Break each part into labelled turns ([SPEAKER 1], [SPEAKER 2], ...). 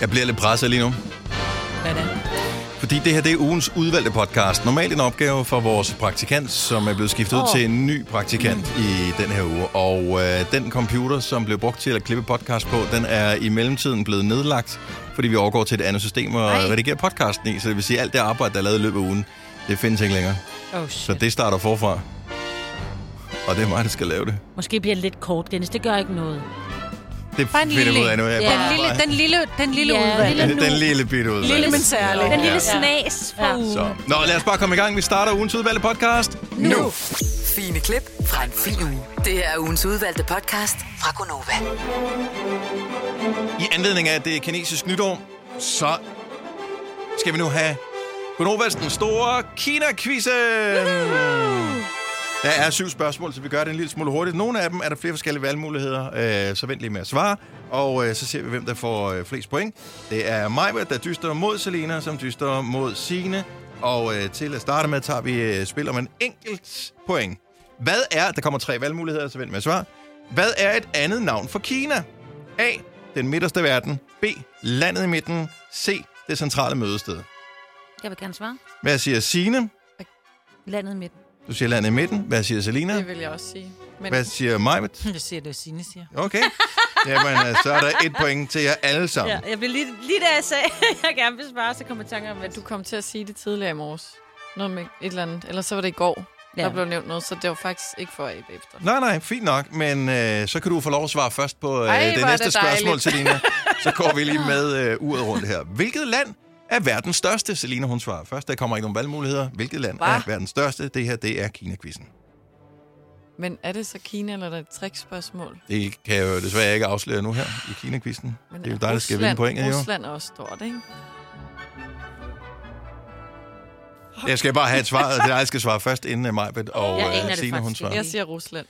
[SPEAKER 1] Jeg bliver lidt presset lige nu.
[SPEAKER 2] Hvad er det?
[SPEAKER 1] Fordi det her det er ugens udvalgte podcast. Normalt en opgave for vores praktikant, som er blevet skiftet oh. ud
[SPEAKER 2] Åh.
[SPEAKER 1] til en ny praktikant i den her uge. Og øh, den computer, som blev brugt til at klippe podcast på, den er i mellemtiden blevet nedlagt, fordi vi overgår til et andet system og
[SPEAKER 2] Ej.
[SPEAKER 1] redigerer podcasten i. Så det vil sige, at alt det arbejde, der er lavet i løbet af ugen, det findes ikke længere.
[SPEAKER 2] Oh,
[SPEAKER 1] Så det starter forfra. Og det er mig, der skal lave det.
[SPEAKER 3] Måske bliver det lidt kort, Dennis. Det gør ikke noget.
[SPEAKER 1] Det
[SPEAKER 2] Bare en
[SPEAKER 1] finder vi ud af nu.
[SPEAKER 2] lille-
[SPEAKER 1] Jeg
[SPEAKER 2] Ja.
[SPEAKER 1] bare-
[SPEAKER 2] Den lille,
[SPEAKER 1] bare-
[SPEAKER 2] den lille, den lille
[SPEAKER 3] Ja,
[SPEAKER 2] udvalg.
[SPEAKER 3] lille-
[SPEAKER 1] den lille bitte udvalg.
[SPEAKER 2] Lille, men særlig.
[SPEAKER 3] Den lille
[SPEAKER 2] Ja.
[SPEAKER 3] snas fra
[SPEAKER 2] Ja.
[SPEAKER 3] ugen.
[SPEAKER 1] Så. Nå, lad os bare komme i gang. Vi starter ugens udvalgte podcast nu. nu.
[SPEAKER 4] Fine klip fra en fin uge. Det her er ugens udvalgte podcast fra Gonova.
[SPEAKER 1] I anledning af at det kinesiske nytår, så skal vi nu have Gunovas den store Kina-quizzen. Der er syv spørgsmål, så vi gør det en lille smule hurtigt. Nogle af dem er der flere forskellige valgmuligheder, øh, så vent lige med at svare. Og øh, så ser vi, hvem der får øh, flest point. Det er Majbert, der dyster mod Selina, som dyster mod Sine. Og øh, til at starte med, tager vi øh, spil om en enkelt point. Hvad er, der kommer tre valgmuligheder, så vent med at svare. Hvad er et andet navn for Kina? A. Den midterste verden. B. Landet i midten. C. Det centrale mødested.
[SPEAKER 3] Jeg vil gerne svare.
[SPEAKER 1] Hvad siger Sine?
[SPEAKER 3] Landet midt.
[SPEAKER 1] Du siger landet i midten. Hvad siger Selina?
[SPEAKER 5] Det vil jeg også sige. Men
[SPEAKER 1] Hvad siger Majbet?
[SPEAKER 2] Jeg siger, det er Signe siger.
[SPEAKER 1] Okay. Jamen, øh, så er der et point til jer alle sammen.
[SPEAKER 3] Ja, jeg blev lige, lige da jeg sagde, at jeg gerne vil svare, så kom jeg i tanke om, at
[SPEAKER 5] du kom til at sige det tidligere i morges. Noget med et eller andet. Eller så var det i går, ja. der blev nævnt noget, så det var faktisk ikke for AB efter.
[SPEAKER 1] Nej, nej, fint nok, men øh, så kan du få lov at svare først på øh,
[SPEAKER 5] Ej,
[SPEAKER 1] det
[SPEAKER 5] hvor er
[SPEAKER 1] næste
[SPEAKER 5] det
[SPEAKER 1] spørgsmål,
[SPEAKER 5] dejligt.
[SPEAKER 1] Selina. Så går vi lige med øh, uret rundt her. Hvilket land er verdens største? Selina, hun svarer først. Der kommer ikke nogen valgmuligheder. Hvilket land Hva? er
[SPEAKER 5] Hva?
[SPEAKER 1] verdens største? Det her, det er Kina-quizzen.
[SPEAKER 5] Men er det så Kina, eller er det et trickspørgsmål?
[SPEAKER 1] Det kan jeg jo desværre ikke afsløre nu her i Kina-quizzen.
[SPEAKER 5] Men
[SPEAKER 1] Det er jo dig, der skal vinde
[SPEAKER 5] Rusland-
[SPEAKER 1] pointet, jo.
[SPEAKER 5] Rusland er også stort, ikke?
[SPEAKER 1] Jeg skal bare have et svar. Det er dig, der skal svare først, inden Majbet og
[SPEAKER 3] Jeg aner
[SPEAKER 1] øh,
[SPEAKER 3] det
[SPEAKER 1] Selina, hun
[SPEAKER 3] faktisk
[SPEAKER 1] svarer.
[SPEAKER 3] ikke.
[SPEAKER 5] Jeg siger Rusland.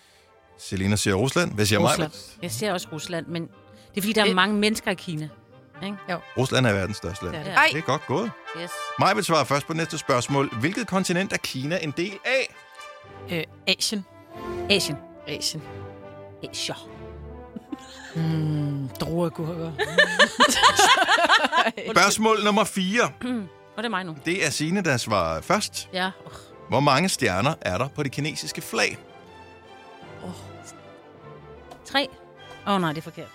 [SPEAKER 1] Selina siger Rusland. Hvad siger
[SPEAKER 2] Rusland.
[SPEAKER 1] Majbet?
[SPEAKER 3] jeg ser også Rusland, men det er fordi, der er
[SPEAKER 2] Øh.
[SPEAKER 5] Et-
[SPEAKER 3] mange mennesker i Kina.
[SPEAKER 1] Rusland er verdens største land.
[SPEAKER 3] Det er det.
[SPEAKER 1] Ja. Det er godt gået.
[SPEAKER 3] Yes.
[SPEAKER 1] Majbet svarer først på næste spørgsmål. Hvilket kontinent er Kina en del af?
[SPEAKER 2] Øh, Asien.
[SPEAKER 3] Asien.
[SPEAKER 5] Asien.
[SPEAKER 3] Asien.
[SPEAKER 2] Druegurker.
[SPEAKER 1] Spørgsmål nummer 4.
[SPEAKER 3] Og det er mig nu.
[SPEAKER 1] Det er Signe, der svarer først.
[SPEAKER 3] Ja. Oh.
[SPEAKER 1] Hvor mange stjerner er der på det kinesiske flag?
[SPEAKER 3] Tre. Åh oh, nej, det er forkert.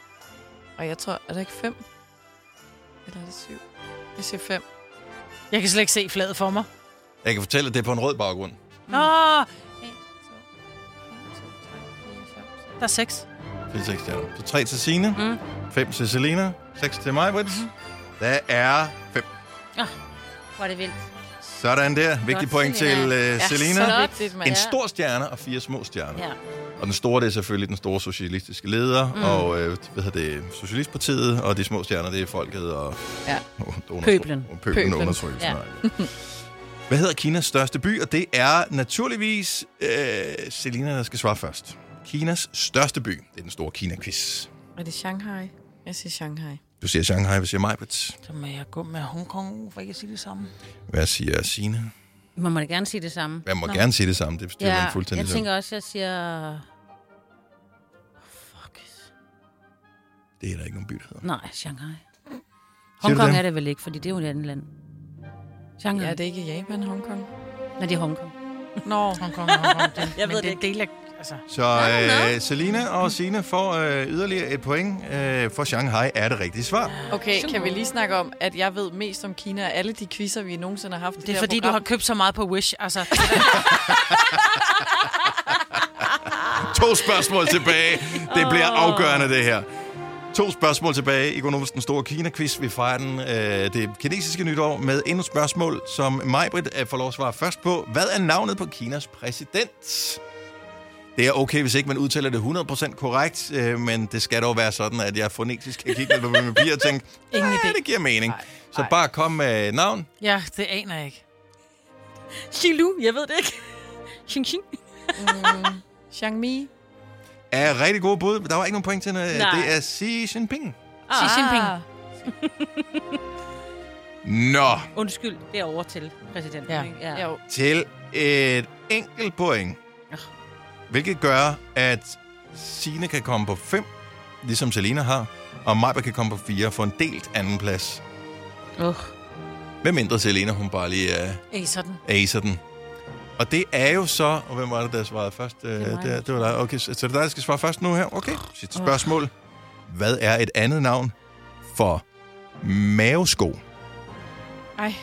[SPEAKER 5] Og jeg tror, er der ikke fem? Eller er det syv? Jeg siger fem.
[SPEAKER 2] Jeg kan slet ikke se fladet for mig.
[SPEAKER 1] Jeg kan fortælle, at det er på en rød baggrund.
[SPEAKER 2] Nå,
[SPEAKER 5] En, Mm. to, tre, fire, fem, seks.
[SPEAKER 2] der er seks.
[SPEAKER 1] 4 stjerner. Så 3 til Signe, 5 til Selina, 6 til Majbet. Der er 5.
[SPEAKER 3] Hvor er det vildt.
[SPEAKER 1] Sådan der. Vigtig
[SPEAKER 3] Godt,
[SPEAKER 1] point til
[SPEAKER 3] Selina.
[SPEAKER 1] uh, Selina.
[SPEAKER 5] Så vigtigt, man.
[SPEAKER 1] En stor stjerne og fire små stjerner.
[SPEAKER 3] Ja.
[SPEAKER 1] Og den store, det er selvfølgelig den store socialistiske leder, mm. og øh, hvad hedder det, Socialistpartiet, og de små stjerner, det er folket og...
[SPEAKER 5] Ja.
[SPEAKER 1] og undertryk-
[SPEAKER 3] Pøblen.
[SPEAKER 1] Og pøblen,
[SPEAKER 5] Pøblen.
[SPEAKER 1] pøblen. Ja.
[SPEAKER 3] Ja.
[SPEAKER 1] Hvad hedder Kinas største by? Og det er naturligvis øh, Selina, der skal svare først. Kinas største by. Det er den store Kina-quiz.
[SPEAKER 5] Er det Shanghai? Jeg siger Shanghai.
[SPEAKER 1] Du siger Shanghai, hvad siger Majbet?
[SPEAKER 2] Så må jeg gå med Hongkong, for ikke at sige det samme.
[SPEAKER 1] Hvad siger Sina?
[SPEAKER 3] Man må da gerne sige det samme.
[SPEAKER 1] Jeg må Nå. gerne sige det samme, det styrer ja, man fuldstændig
[SPEAKER 3] jeg
[SPEAKER 1] selv.
[SPEAKER 3] tænker også, jeg siger... Fuck.
[SPEAKER 1] Det er der ikke nogen by, der hedder.
[SPEAKER 3] Nej, Shanghai.
[SPEAKER 1] Siger du
[SPEAKER 3] Hongkong
[SPEAKER 1] det?
[SPEAKER 3] er det vel ikke, fordi det er jo et andet land. Shanghai.
[SPEAKER 5] Ja,
[SPEAKER 3] Ja,
[SPEAKER 5] er
[SPEAKER 3] det...
[SPEAKER 5] det ikke Japan, Hongkong?
[SPEAKER 3] Nej, det er Hongkong.
[SPEAKER 5] Nå,
[SPEAKER 2] Hongkong, Hongkong. Det,
[SPEAKER 3] Jeg
[SPEAKER 2] men
[SPEAKER 3] ved det
[SPEAKER 2] er en Del af, altså,
[SPEAKER 1] Så øh, Selina og Sine får øh, yderligere et point, øh, for Shanghai er det rigtige svar.
[SPEAKER 5] okay, kan vi lige snakke om, at jeg ved mest om Kina af alle de quizzer, vi nogensinde har haft i
[SPEAKER 2] det er
[SPEAKER 5] her
[SPEAKER 2] fordi, du har
[SPEAKER 5] program.
[SPEAKER 2] købt så meget på Wish. Altså,
[SPEAKER 1] To spørgsmål tilbage. Det bliver afgørende, det her. To spørgsmål tilbage i Gonovas Den Store Kina-quiz. Vi fejrer den, øh, det kinesiske nytår med endnu et spørgsmål, som Majbrit øh, får lov at svare først på. Hvad er navnet på Kinas præsident? Det er okay, hvis ikke man udtaler det 100% korrekt, øh, men det skal dog være sådan, at jeg fonetisk kan kigge lidt på min papir og tænke,
[SPEAKER 2] ingen
[SPEAKER 1] ja,
[SPEAKER 2] idé.
[SPEAKER 1] det giver mening. Så bare kom med navn.
[SPEAKER 2] Ja, det aner jeg ikke.
[SPEAKER 3] Xilu, jeg ved det ikke. Xing, xing.
[SPEAKER 5] Mm, Xiangmi.
[SPEAKER 1] Er rigtig gode bud. Der var ikke nogen point til, noget.
[SPEAKER 3] Nej.
[SPEAKER 1] det er Xi Jinping.
[SPEAKER 2] Xi
[SPEAKER 5] Ah.
[SPEAKER 2] Jinping.
[SPEAKER 3] Ah.
[SPEAKER 1] Nå,
[SPEAKER 3] Undskyld, det er over til præsidenten.
[SPEAKER 2] Ja.
[SPEAKER 3] ikke? ja.
[SPEAKER 5] Jo.
[SPEAKER 1] til et enkelt point. Hvilket gør, at Sine kan komme på 5, ligesom Selina har. Og Majba kan komme på fire for en delt anden plads.
[SPEAKER 3] Uh.
[SPEAKER 1] Med mindre Selina, hun bare lige øh,
[SPEAKER 2] Acer den.
[SPEAKER 1] acer den. Og det er jo så... Og hvem var det, der svarede først? Øh,
[SPEAKER 3] mig.
[SPEAKER 1] Det, det var dig. Okay, så så det er dig, der skal svare først nu her. Okay, sidste spørgsmål. Hvad er et andet navn for mavesko?
[SPEAKER 5] Ej,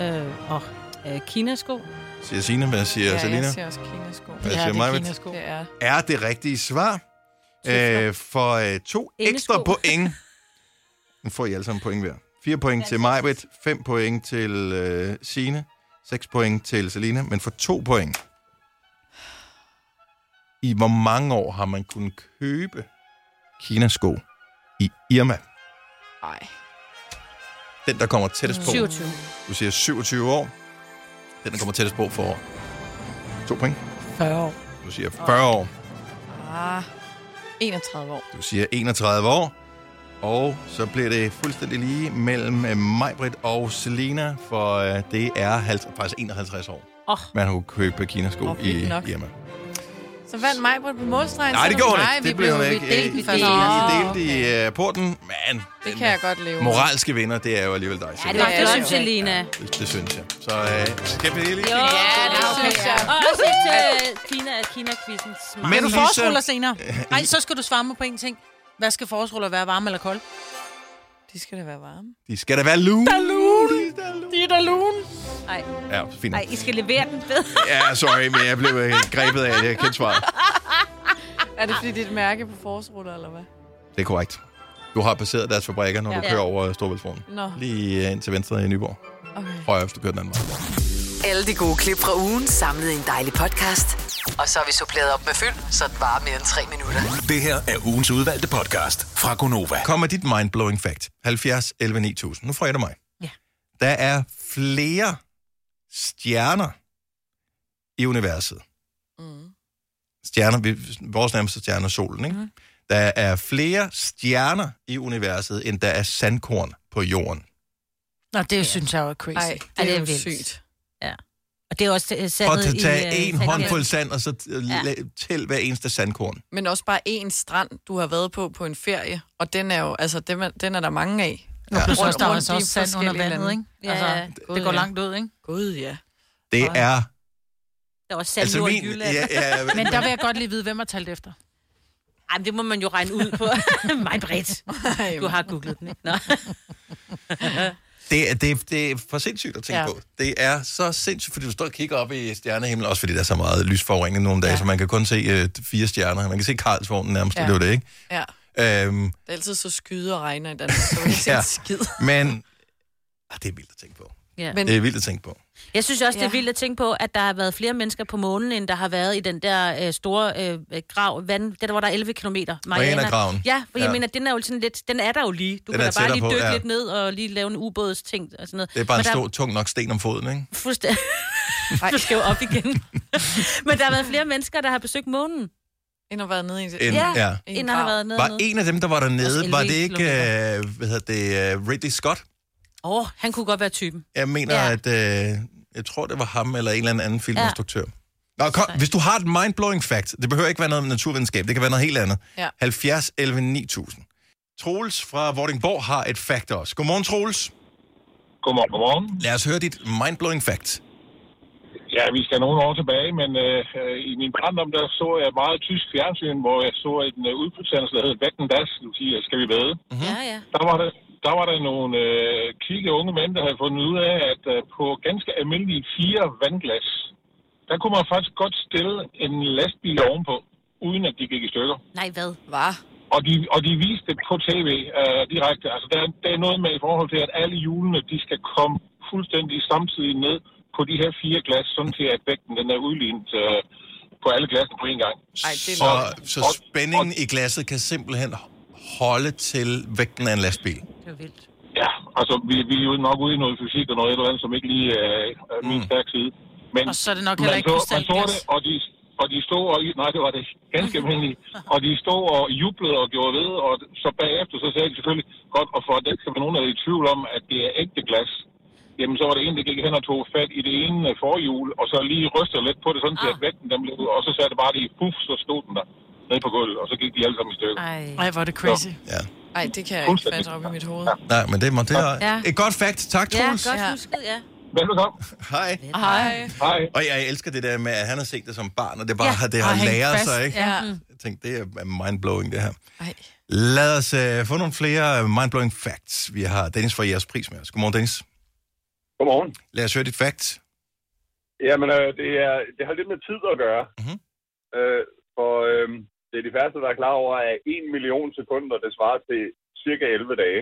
[SPEAKER 3] Øh, og øh, Kinasko.
[SPEAKER 1] Siger Signe, hvad siger ja,
[SPEAKER 5] ja,
[SPEAKER 1] Selina?
[SPEAKER 5] jeg ser også kinasko.
[SPEAKER 1] Hvad siger
[SPEAKER 2] det er
[SPEAKER 1] Majbrit?
[SPEAKER 2] Kinas sko.
[SPEAKER 5] Det er
[SPEAKER 1] er det rigtige svar.
[SPEAKER 3] Tøfler.
[SPEAKER 1] Øh, for øh, to
[SPEAKER 3] Endesko.
[SPEAKER 1] ekstra point. Nu får I alle sammen point hver. Fire point til Majbrit, fem point til øh, Signe, seks point til Selina, men for to point. I hvor mange år har man kunnet købe Kinasko i Irma?
[SPEAKER 5] Ej.
[SPEAKER 1] Den, der kommer tættest på.
[SPEAKER 3] 27.
[SPEAKER 1] Du siger 27 år. Den, der kommer tættest på for to point.
[SPEAKER 2] 40 år.
[SPEAKER 1] Du siger 40 år.
[SPEAKER 5] Ah, 31 år.
[SPEAKER 1] Du siger 31 år. Og så bliver det fuldstændig lige mellem øh, Majbrit og Selena, for øh, det er 50, faktisk 51 år,
[SPEAKER 3] Åh.
[SPEAKER 1] man har kunne købe kinasko
[SPEAKER 5] Åh,
[SPEAKER 1] oh,
[SPEAKER 5] vildt
[SPEAKER 1] i
[SPEAKER 5] nok.
[SPEAKER 1] Irma.
[SPEAKER 5] Så vandt mig på målstregen.
[SPEAKER 1] Nej, det
[SPEAKER 5] selvom-
[SPEAKER 1] gjorde hun
[SPEAKER 5] Altså, Nej,
[SPEAKER 1] ikke.
[SPEAKER 5] vi
[SPEAKER 1] Det blev hun
[SPEAKER 5] vi
[SPEAKER 1] ikke.
[SPEAKER 5] delte
[SPEAKER 1] I
[SPEAKER 5] den
[SPEAKER 3] I
[SPEAKER 5] første.
[SPEAKER 3] delte-
[SPEAKER 5] Nå,
[SPEAKER 1] I delte i øh, porten, men
[SPEAKER 5] Det
[SPEAKER 1] den
[SPEAKER 5] kan jeg godt leve. med.
[SPEAKER 1] moralske vinder, det er jo alligevel dig.
[SPEAKER 3] Ja,
[SPEAKER 1] Selena.
[SPEAKER 3] det var
[SPEAKER 5] Ja,
[SPEAKER 3] flot,
[SPEAKER 5] det
[SPEAKER 3] synes
[SPEAKER 5] synes
[SPEAKER 3] jeg,
[SPEAKER 5] jeg.
[SPEAKER 3] Lina.
[SPEAKER 1] det, det synes jeg. Så øh, skal vi lige...
[SPEAKER 3] Jo,
[SPEAKER 5] Ja, det synes jeg.
[SPEAKER 3] Og også et til Kina, at Kina-quizzen smart.
[SPEAKER 1] Men
[SPEAKER 2] Men du
[SPEAKER 1] Lisa-
[SPEAKER 2] forårsruller senere. Nej, så skal du svare mig på en ting. Hvad skal forårsruller være, varme eller kold?
[SPEAKER 5] De skal da være varme.
[SPEAKER 1] De skal da være lune.
[SPEAKER 2] Det er da lun.
[SPEAKER 3] Ej,
[SPEAKER 1] Ja, fint.
[SPEAKER 3] ej, I skal levere den ved.
[SPEAKER 1] Ja, sorry, men jeg blev øh, grebet af, det. jeg kendte svaret.
[SPEAKER 5] Er det fordi, det er et mærke på forårsruller, eller hvad?
[SPEAKER 1] Det er korrekt. Du har passeret deres fabrikker, når ja. du
[SPEAKER 3] Ja.
[SPEAKER 1] kører over Storbæltsbroen.
[SPEAKER 5] Nå.
[SPEAKER 1] Lige øh, ind til venstre i Nyborg.
[SPEAKER 5] Okay.
[SPEAKER 1] Højre, hvis du kører den anden vej.
[SPEAKER 4] Alle de gode klip fra ugen samlet i en dejlig podcast. Og så har vi suppleret op med fyld, så det varer mere end tre minutter.
[SPEAKER 6] Det her er ugens udvalgte podcast fra Gonova.
[SPEAKER 1] Kom med dit mind-blowing fact. 70 11 9000. Nu får jeg det mig.
[SPEAKER 2] Ja.
[SPEAKER 1] Der er flere stjerner i universet.
[SPEAKER 5] Mm.
[SPEAKER 1] Stjerner, vi- vores nærmeste stjerne er solen, ikke? Mm. Der er flere stjerner i universet, end der er sandkorn på jorden.
[SPEAKER 2] Nå, det synes jeg jo er crazy.
[SPEAKER 5] Ej, det
[SPEAKER 3] Ej,
[SPEAKER 5] er,
[SPEAKER 3] det
[SPEAKER 5] det
[SPEAKER 3] er
[SPEAKER 5] er jo
[SPEAKER 3] vildt.
[SPEAKER 5] sygt.
[SPEAKER 3] Og det er også øh,
[SPEAKER 1] Og
[SPEAKER 3] sandet
[SPEAKER 1] at tage
[SPEAKER 3] øh,
[SPEAKER 1] en
[SPEAKER 3] sandet.
[SPEAKER 1] håndfuld sand, og så
[SPEAKER 3] Ja.
[SPEAKER 1] ja. tæl hver eneste sandkorn.
[SPEAKER 5] Men også bare én strand, du har været på på en ferie, og den er jo, altså, den er, den er der mange af.
[SPEAKER 2] Nu pludselig
[SPEAKER 5] Rundt-
[SPEAKER 2] også, der er
[SPEAKER 5] rundt
[SPEAKER 2] altså
[SPEAKER 5] i
[SPEAKER 2] også sand under
[SPEAKER 5] forskellige
[SPEAKER 2] vandet,
[SPEAKER 5] lande.
[SPEAKER 2] ikke?
[SPEAKER 3] Ja,
[SPEAKER 2] altså,
[SPEAKER 3] ja.
[SPEAKER 2] det går
[SPEAKER 5] Gud, ja.
[SPEAKER 2] langt ud, ikke?
[SPEAKER 5] Gud, ja.
[SPEAKER 1] Det
[SPEAKER 2] Ej.
[SPEAKER 1] er...
[SPEAKER 3] Der er også sand altså, i Jylland.
[SPEAKER 1] ja, ja,
[SPEAKER 2] Men der vil jeg godt lige vide, hvem har talt efter.
[SPEAKER 3] Ej, men det må man jo regne ud på. Mig bredt. Du har googlet den, ikke? Nå.
[SPEAKER 1] Det, er- det, er- det er for sindssygt at tænke ja.
[SPEAKER 2] Ja.
[SPEAKER 1] på. Det er så sindssygt, fordi du står og kigger op i stjernehimlen, også fordi der er så meget lysforurening nogle dage, ja. så man kan kun se øh, fire stjerner. Man kan se Karlsvognen nærmest, ja.
[SPEAKER 5] Ja.
[SPEAKER 1] det er jo det, ikke?
[SPEAKER 5] ja.
[SPEAKER 1] Øhm,
[SPEAKER 5] Det er altid så skyde og regner i Danmark, så vi ikke
[SPEAKER 1] Ja.
[SPEAKER 5] ja. skid.
[SPEAKER 1] men ah, det er vildt at tænke på.
[SPEAKER 3] Ja.
[SPEAKER 5] Men-
[SPEAKER 1] Det er vildt at tænke på.
[SPEAKER 3] Jeg synes også, det er
[SPEAKER 5] Ja.
[SPEAKER 3] vildt at tænke på, at der har været flere mennesker på månen, end der har været i den der øh, store øh, øh, grav, vand, den, hvor der er 11 km.
[SPEAKER 1] Marianagraven.
[SPEAKER 3] Ja, for jeg
[SPEAKER 1] Ja.
[SPEAKER 3] mener, den er jo sådan lidt, den er der jo lige.
[SPEAKER 1] Den
[SPEAKER 3] Du den kan
[SPEAKER 1] er
[SPEAKER 3] da bare
[SPEAKER 1] tættere
[SPEAKER 3] lige
[SPEAKER 1] på,
[SPEAKER 3] dykke
[SPEAKER 1] ja.
[SPEAKER 3] lidt ned og lige lave en ubådsting og sådan noget.
[SPEAKER 1] Det er bare
[SPEAKER 3] Men
[SPEAKER 1] en
[SPEAKER 3] der-
[SPEAKER 1] stor, tung nok sten om foden, ikke?
[SPEAKER 3] Fuldstændig. du skal jo op igen. Men der har været flere mennesker, der har besøgt månen,
[SPEAKER 5] End at være nede i en...
[SPEAKER 1] En,
[SPEAKER 3] Ja.
[SPEAKER 1] ja.
[SPEAKER 5] i en
[SPEAKER 3] end der har
[SPEAKER 5] grav.
[SPEAKER 3] været nede.
[SPEAKER 1] Var
[SPEAKER 3] Åh,
[SPEAKER 1] en af dem, der var
[SPEAKER 3] Også
[SPEAKER 1] dernede, var det
[SPEAKER 3] 11
[SPEAKER 1] ikke øh, hvad hedder det, uh, Ridley Scott?
[SPEAKER 3] oh, han kunne godt være typen.
[SPEAKER 1] Jeg mener, ja.
[SPEAKER 3] Ja.
[SPEAKER 1] at øh, jeg tror, det var ham eller en eller anden filminstruktør. Ja. Nå, kom,
[SPEAKER 3] Sej.
[SPEAKER 1] hvis du har et mind-blowing fact, det behøver ikke være noget med naturvidenskab, det kan være noget helt andet.
[SPEAKER 5] Ja.
[SPEAKER 1] 70 11 9000. Troels fra Vordingborg har et fact også. Godmorgen, Troels.
[SPEAKER 7] Godmorgen, godmorgen.
[SPEAKER 1] Lad os høre dit mind-blowing fact.
[SPEAKER 7] Ja, vi skal nogle år tilbage, men øh, øh, i min barndom, der så jeg meget tysk fjernsyn, hvor jeg så en øh, udbetændelse, der hed Vækken Das, du siger, skal vi væde.
[SPEAKER 3] Mm-hmm. Ja, ja.
[SPEAKER 7] Der var der, der var der nogle øh, kvikke unge mænd, der havde fundet ud af, at øh, på ganske almindelige fire vandglas, der kunne man faktisk godt stille en lastbil ovenpå, uden at de gik i stykker.
[SPEAKER 3] Nej, hvad?
[SPEAKER 5] Var.
[SPEAKER 7] Og de, og de viste det på tv øh, direkte. Altså, der, er- der er noget med i forhold til, at alle hjulene, de skal komme fuldstændig samtidig ned på de her fire glas, sådan til at vægten den er udlignet øh, på alle glassene på en gang.
[SPEAKER 5] Ej, det er
[SPEAKER 1] Så,
[SPEAKER 7] nok. Og-
[SPEAKER 1] så spændingen i glasset kan simpelthen holde til vægten af en lastbil.
[SPEAKER 3] Det var vildt.
[SPEAKER 7] Ja, altså, vi, vi er jo nok ude i noget fysik og noget et eller andet, som ikke lige øh, er min stærke side. Men
[SPEAKER 2] Mm. Og så er det nok heller
[SPEAKER 7] man
[SPEAKER 2] ikke
[SPEAKER 7] så, man så det,
[SPEAKER 2] krystalglas.
[SPEAKER 7] og de, og de stod og... Nej, det var det ganske almindeligt. Og de stod og jublede og gjorde ved, og så bagefter så sagde de selvfølgelig, godt, og for at der ikke skal være nogen, der er i tvivl om, at det er ægte glas, jamen så var det en, der gik hen og tog fat i det ene øh, forhjul, og så lige rystede lidt på det, sådan til
[SPEAKER 3] Ah.
[SPEAKER 7] at vægten den blev ud, og så sagde det bare lige, puff, så stod den der. ned på gulvet, og så gik de alle sammen i stykker.
[SPEAKER 3] Ej.
[SPEAKER 5] Ej, hvor er det crazy.
[SPEAKER 1] Ja.
[SPEAKER 5] Ej, det kan jeg ikke fatte op i mit hoved.
[SPEAKER 1] Nej, men det, man, det er
[SPEAKER 3] Ja.
[SPEAKER 1] et godt fact. Tak,
[SPEAKER 3] Ja,
[SPEAKER 1] Troels.
[SPEAKER 3] godt
[SPEAKER 5] Ja.
[SPEAKER 3] husket, ja.
[SPEAKER 7] Velbekomme.
[SPEAKER 1] Hej.
[SPEAKER 5] Hej.
[SPEAKER 7] Hej.
[SPEAKER 1] Og jeg elsker det der med, at han har set det som barn, og det, bare,
[SPEAKER 3] Ja,
[SPEAKER 1] ja, det
[SPEAKER 5] og
[SPEAKER 1] har
[SPEAKER 5] hængt
[SPEAKER 1] læret
[SPEAKER 5] fast.
[SPEAKER 1] sig, ikke?
[SPEAKER 5] Ja.
[SPEAKER 3] Mm.
[SPEAKER 1] Jeg tænkte, det er mindblowing, det her.
[SPEAKER 5] Ej.
[SPEAKER 1] Lad os uh, få nogle flere øh, mindblowing facts. Vi har Dennis fra jeres pris med os. Godmorgen, Dennis.
[SPEAKER 7] Godmorgen.
[SPEAKER 1] Lad os høre dit fact.
[SPEAKER 7] Jamen, øh, det, er, det har lidt med tid at gøre.
[SPEAKER 1] Mhm.
[SPEAKER 7] Mm-hmm. Øh, for øh, det er de færreste, der er klar over, at 1 million sekunder, det svarer til cirka 11 dage.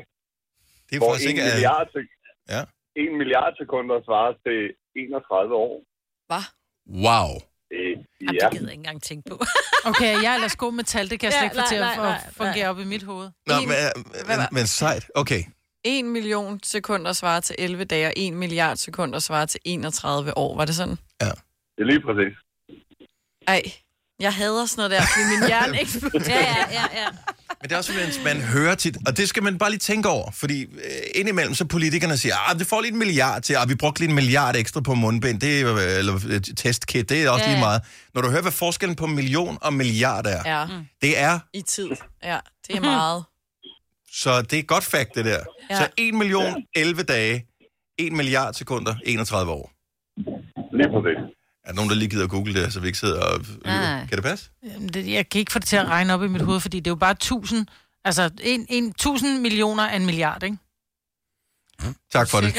[SPEAKER 1] Det er
[SPEAKER 7] Hvor
[SPEAKER 1] faktisk
[SPEAKER 7] 1
[SPEAKER 1] ikke... øh,
[SPEAKER 7] milliard, sek-
[SPEAKER 1] Ja.
[SPEAKER 7] 1 milliard sekunder svarer til 31 år.
[SPEAKER 1] Wow.
[SPEAKER 7] Det,
[SPEAKER 3] Jamen,
[SPEAKER 7] ja.
[SPEAKER 3] det gider jeg ikke engang tænke på.
[SPEAKER 2] Okay, jeg er ellers god med tal. Det kan jeg slet ikke
[SPEAKER 3] Ja,
[SPEAKER 2] få til
[SPEAKER 3] nej,
[SPEAKER 2] at
[SPEAKER 3] nej, nej,
[SPEAKER 2] at fungere op i mit hoved.
[SPEAKER 1] Nå,
[SPEAKER 5] En-
[SPEAKER 1] men, øh, men, men sejt. Okay.
[SPEAKER 5] 1 million sekunder svarer til 11 dage, og 1 milliard sekunder svarer til 31 år. Var det sådan?
[SPEAKER 7] det er lige præcis.
[SPEAKER 5] Ej, jeg hader sådan noget der, fordi min hjerne eksploderer.
[SPEAKER 3] Ja, ja, ja, ja.
[SPEAKER 1] Men det er også, mens man hører tit, og det skal man bare lige tænke over, fordi øh, indimellem så politikerne siger, at det får lige en milliard til, og vi brugte lige en milliard ekstra på mundbind, det er, øh, eller øh, testkit, det er også
[SPEAKER 3] Ja,
[SPEAKER 1] ja. lige
[SPEAKER 3] ja.
[SPEAKER 1] meget. Når du hører, hvad forskellen på million og milliard er, ja.
[SPEAKER 5] Ja,
[SPEAKER 2] Mm.
[SPEAKER 1] det er,
[SPEAKER 5] i tid. Ja, det er meget.
[SPEAKER 1] så det er godt fakt, det der. Ja.
[SPEAKER 5] Ja.
[SPEAKER 1] Så 1 million, 11 dage, 1 milliard sekunder, 31 år.
[SPEAKER 7] Lige præcis.
[SPEAKER 1] Er der nogen, der lige gider at google det, så vi ikke sidder og... lyver? Kan det passe?
[SPEAKER 2] Jamen, det- Jeg kan ikke få det til at regne op i mit hoved, fordi det er jo bare 1000, altså en, en, 1000 millioner af en milliard, ikke?
[SPEAKER 1] Tak for det.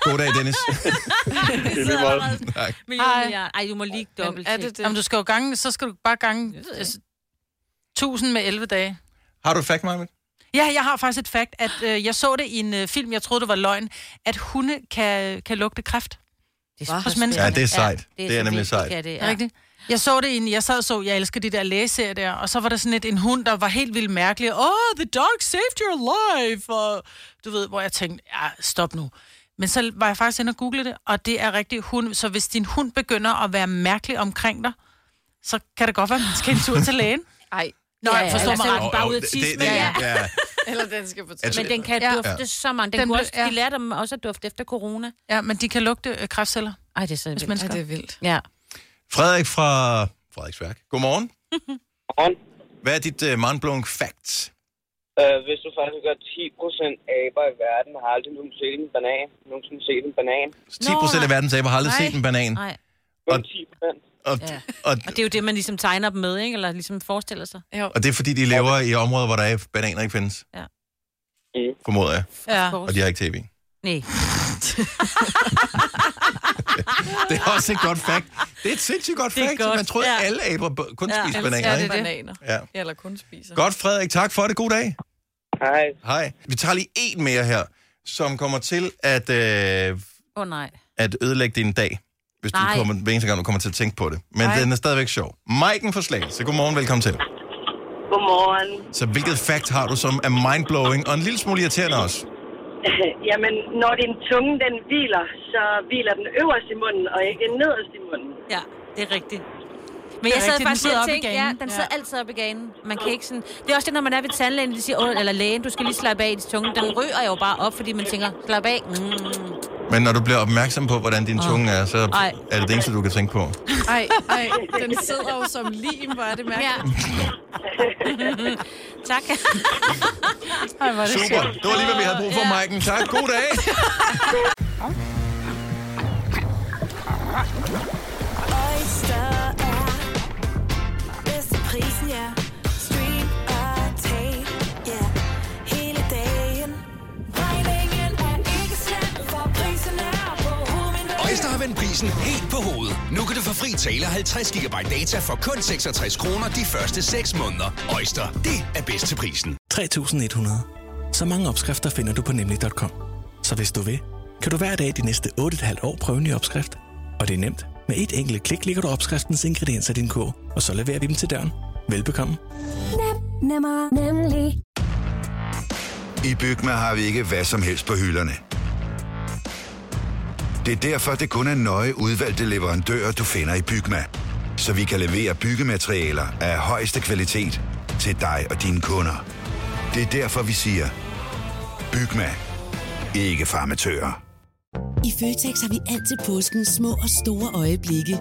[SPEAKER 1] God dag, Dennis.
[SPEAKER 7] Det er lige meget.
[SPEAKER 1] tak.
[SPEAKER 3] Million,
[SPEAKER 2] Ej.
[SPEAKER 3] milliard. Ej, du må lige
[SPEAKER 5] Men
[SPEAKER 3] dobbelt
[SPEAKER 5] er det det?
[SPEAKER 2] Jamen, du skal jo gange, så skal du bare gange altså, 1000 med 11 dage.
[SPEAKER 1] Har du et fact, Marvind?
[SPEAKER 2] Ja, jeg har faktisk et fakt, at øh, jeg så det i en øh, film, jeg troede, det var løgn, at hunde kan, kan lugte kræft.
[SPEAKER 3] Det
[SPEAKER 5] Hva?
[SPEAKER 3] er,
[SPEAKER 2] Hos mennesker.
[SPEAKER 1] Ja, det er sejt. Det er
[SPEAKER 3] så
[SPEAKER 1] nemlig
[SPEAKER 3] vildt,
[SPEAKER 1] sejt.
[SPEAKER 3] kan det,
[SPEAKER 2] Ja. Rigtigt? Jeg så det i en, jeg sad og så, jeg elsker de der lægeserier der, og så var der sådan et, en hund, der var helt vildt mærkelig. Oh, the dog saved your life! Og, du ved, hvor jeg tænkte, ja, stop nu. Men så var jeg faktisk inde og google det, og det er rigtigt hund. Så hvis din hund begynder at være mærkelig omkring dig, så kan det godt være, at man skal en tur til lægen.
[SPEAKER 5] Ej,
[SPEAKER 2] Nå,
[SPEAKER 3] Ja,
[SPEAKER 2] jeg forstår
[SPEAKER 3] eller
[SPEAKER 2] mig
[SPEAKER 3] så-
[SPEAKER 2] ret.
[SPEAKER 3] Åh, bare ud at tisse med jer.
[SPEAKER 1] ja.
[SPEAKER 5] eller den skal på
[SPEAKER 1] Jeg
[SPEAKER 3] Altså, Men den kan
[SPEAKER 2] Ja.
[SPEAKER 3] dufte så mange. Den,
[SPEAKER 2] Den
[SPEAKER 3] den kunne
[SPEAKER 2] blev-
[SPEAKER 3] også, ja. De
[SPEAKER 2] ja.
[SPEAKER 3] lærte dem også at dufte efter corona.
[SPEAKER 2] Ja, men de kan lugte øh, kræftceller.
[SPEAKER 3] Ej, det er så
[SPEAKER 2] man
[SPEAKER 3] vildt.
[SPEAKER 5] Ja, det er vildt.
[SPEAKER 3] Ja.
[SPEAKER 1] Frederik fra Frederiksværk. Godmorgen.
[SPEAKER 8] Godmorgen.
[SPEAKER 1] Hvad er dit uh, mindblowing fact?
[SPEAKER 8] Øh, hvis du faktisk gør 10% aber i verden, har aldrig nogensinde set en banan. Nogensinde set en banan.
[SPEAKER 1] 10 procent af
[SPEAKER 3] nej.
[SPEAKER 1] verdens aber har aldrig
[SPEAKER 3] Nej.
[SPEAKER 1] set en banan.
[SPEAKER 3] Nej.
[SPEAKER 8] Kun
[SPEAKER 1] Og-
[SPEAKER 8] 10%.
[SPEAKER 1] Og,
[SPEAKER 3] Ja.
[SPEAKER 1] og,
[SPEAKER 3] Og det er jo det, man ligesom tegner dem med, ikke? Eller ligesom forestiller sig.
[SPEAKER 5] Jo.
[SPEAKER 1] og det er fordi, de lever i områder, hvor der er bananer ikke findes.
[SPEAKER 3] Ja.
[SPEAKER 8] Mm.
[SPEAKER 1] Formoder jeg.
[SPEAKER 2] Ja.
[SPEAKER 1] Og de har ikke tv.
[SPEAKER 3] Nej.
[SPEAKER 1] Det er også et godt fact. Det er et sindssygt godt
[SPEAKER 3] Det er
[SPEAKER 1] fact.
[SPEAKER 3] godt,
[SPEAKER 1] Man troede,
[SPEAKER 3] ja.
[SPEAKER 1] at alle aber b- kun
[SPEAKER 3] Ja,
[SPEAKER 1] spiste
[SPEAKER 5] Ellers
[SPEAKER 1] bananer.
[SPEAKER 5] er det
[SPEAKER 1] Ikke?
[SPEAKER 5] bananer.
[SPEAKER 1] Ja.
[SPEAKER 5] Eller kun spiser.
[SPEAKER 1] Godt, Frederik. Tak for det. God dag.
[SPEAKER 8] Hej.
[SPEAKER 1] Hej. Vi tager lige en mere her, som kommer til at, øh,
[SPEAKER 3] Åh, oh, nej.
[SPEAKER 1] at ødelægge din dag, hvis
[SPEAKER 3] Nej.
[SPEAKER 1] du kommer, hver eneste gang, du kommer til at tænke på det. Men
[SPEAKER 5] Nej.
[SPEAKER 1] den er stadigvæk sjov. Maiken fra Slagelse. Godmorgen, velkommen til.
[SPEAKER 9] Godmorgen.
[SPEAKER 1] Så hvilket fact har du, som er mindblowing og en lille smule irriterende også?
[SPEAKER 9] Jamen, når din tunge den hviler, så hviler den øverst i munden, og ikke nederst i munden.
[SPEAKER 3] Ja, det er rigtigt. Men jeg sad
[SPEAKER 2] rigtigt, den
[SPEAKER 3] faktisk
[SPEAKER 2] sidder
[SPEAKER 3] og
[SPEAKER 2] oppe i
[SPEAKER 3] tænkte, ja,
[SPEAKER 2] ganen.
[SPEAKER 3] den sidder altid op i ganen. Man kan ikke sådan... Det er også det, når man er ved tandlægen, de siger, "Åh, eller lægen, du skal lige slappe af i tungen. Den ryger jo bare op, fordi man tænker, slap af. Mm.
[SPEAKER 1] Men når du bliver opmærksom på, hvordan din tunge er, så
[SPEAKER 3] Ej.
[SPEAKER 1] er det det eneste, du kan tænke på.
[SPEAKER 5] Ej, ej, den sidder jo som lim, hvor er det
[SPEAKER 3] Ja.
[SPEAKER 5] mærkeligt.
[SPEAKER 3] tak.
[SPEAKER 5] Ej, hvor er det
[SPEAKER 1] Super. Det var lige, hvad vi havde brug for, Maiken. Tak. God dag.
[SPEAKER 10] Oyster er bedst til prisen, ja. Stream og tag, ja. Hele dagen. Regningen er ikke slem, for prisen er på hovedet.
[SPEAKER 6] Øjster har vendt prisen helt på hovedet. Nu kan du få fri tale 50 GB data for kun 66 kroner de første 6 måneder. Øjster, det er bedst til prisen.
[SPEAKER 11] 3100. Så mange opskrifter finder du på nemlig.com. Så hvis du vil, kan du hver dag de næste 8,5 år prøve en ny opskrift. Og det er nemt. Med et enkelt klik ligger du opskriftens ingredienser i din kog, og så leverer vi dem til døren. Velbekomme.
[SPEAKER 10] Nemmer, nemlig.
[SPEAKER 12] I Bygma har vi ikke hvad som helst på hylderne. Det er derfor, det kun er nøje udvalgte leverandører, du finder i Bygma. Så vi kan levere byggematerialer af højeste kvalitet til dig og dine kunder. Det er derfor, vi siger, Bygma. Ikke farmatører.
[SPEAKER 10] I Føtex har vi altid påsken små og store øjeblikke.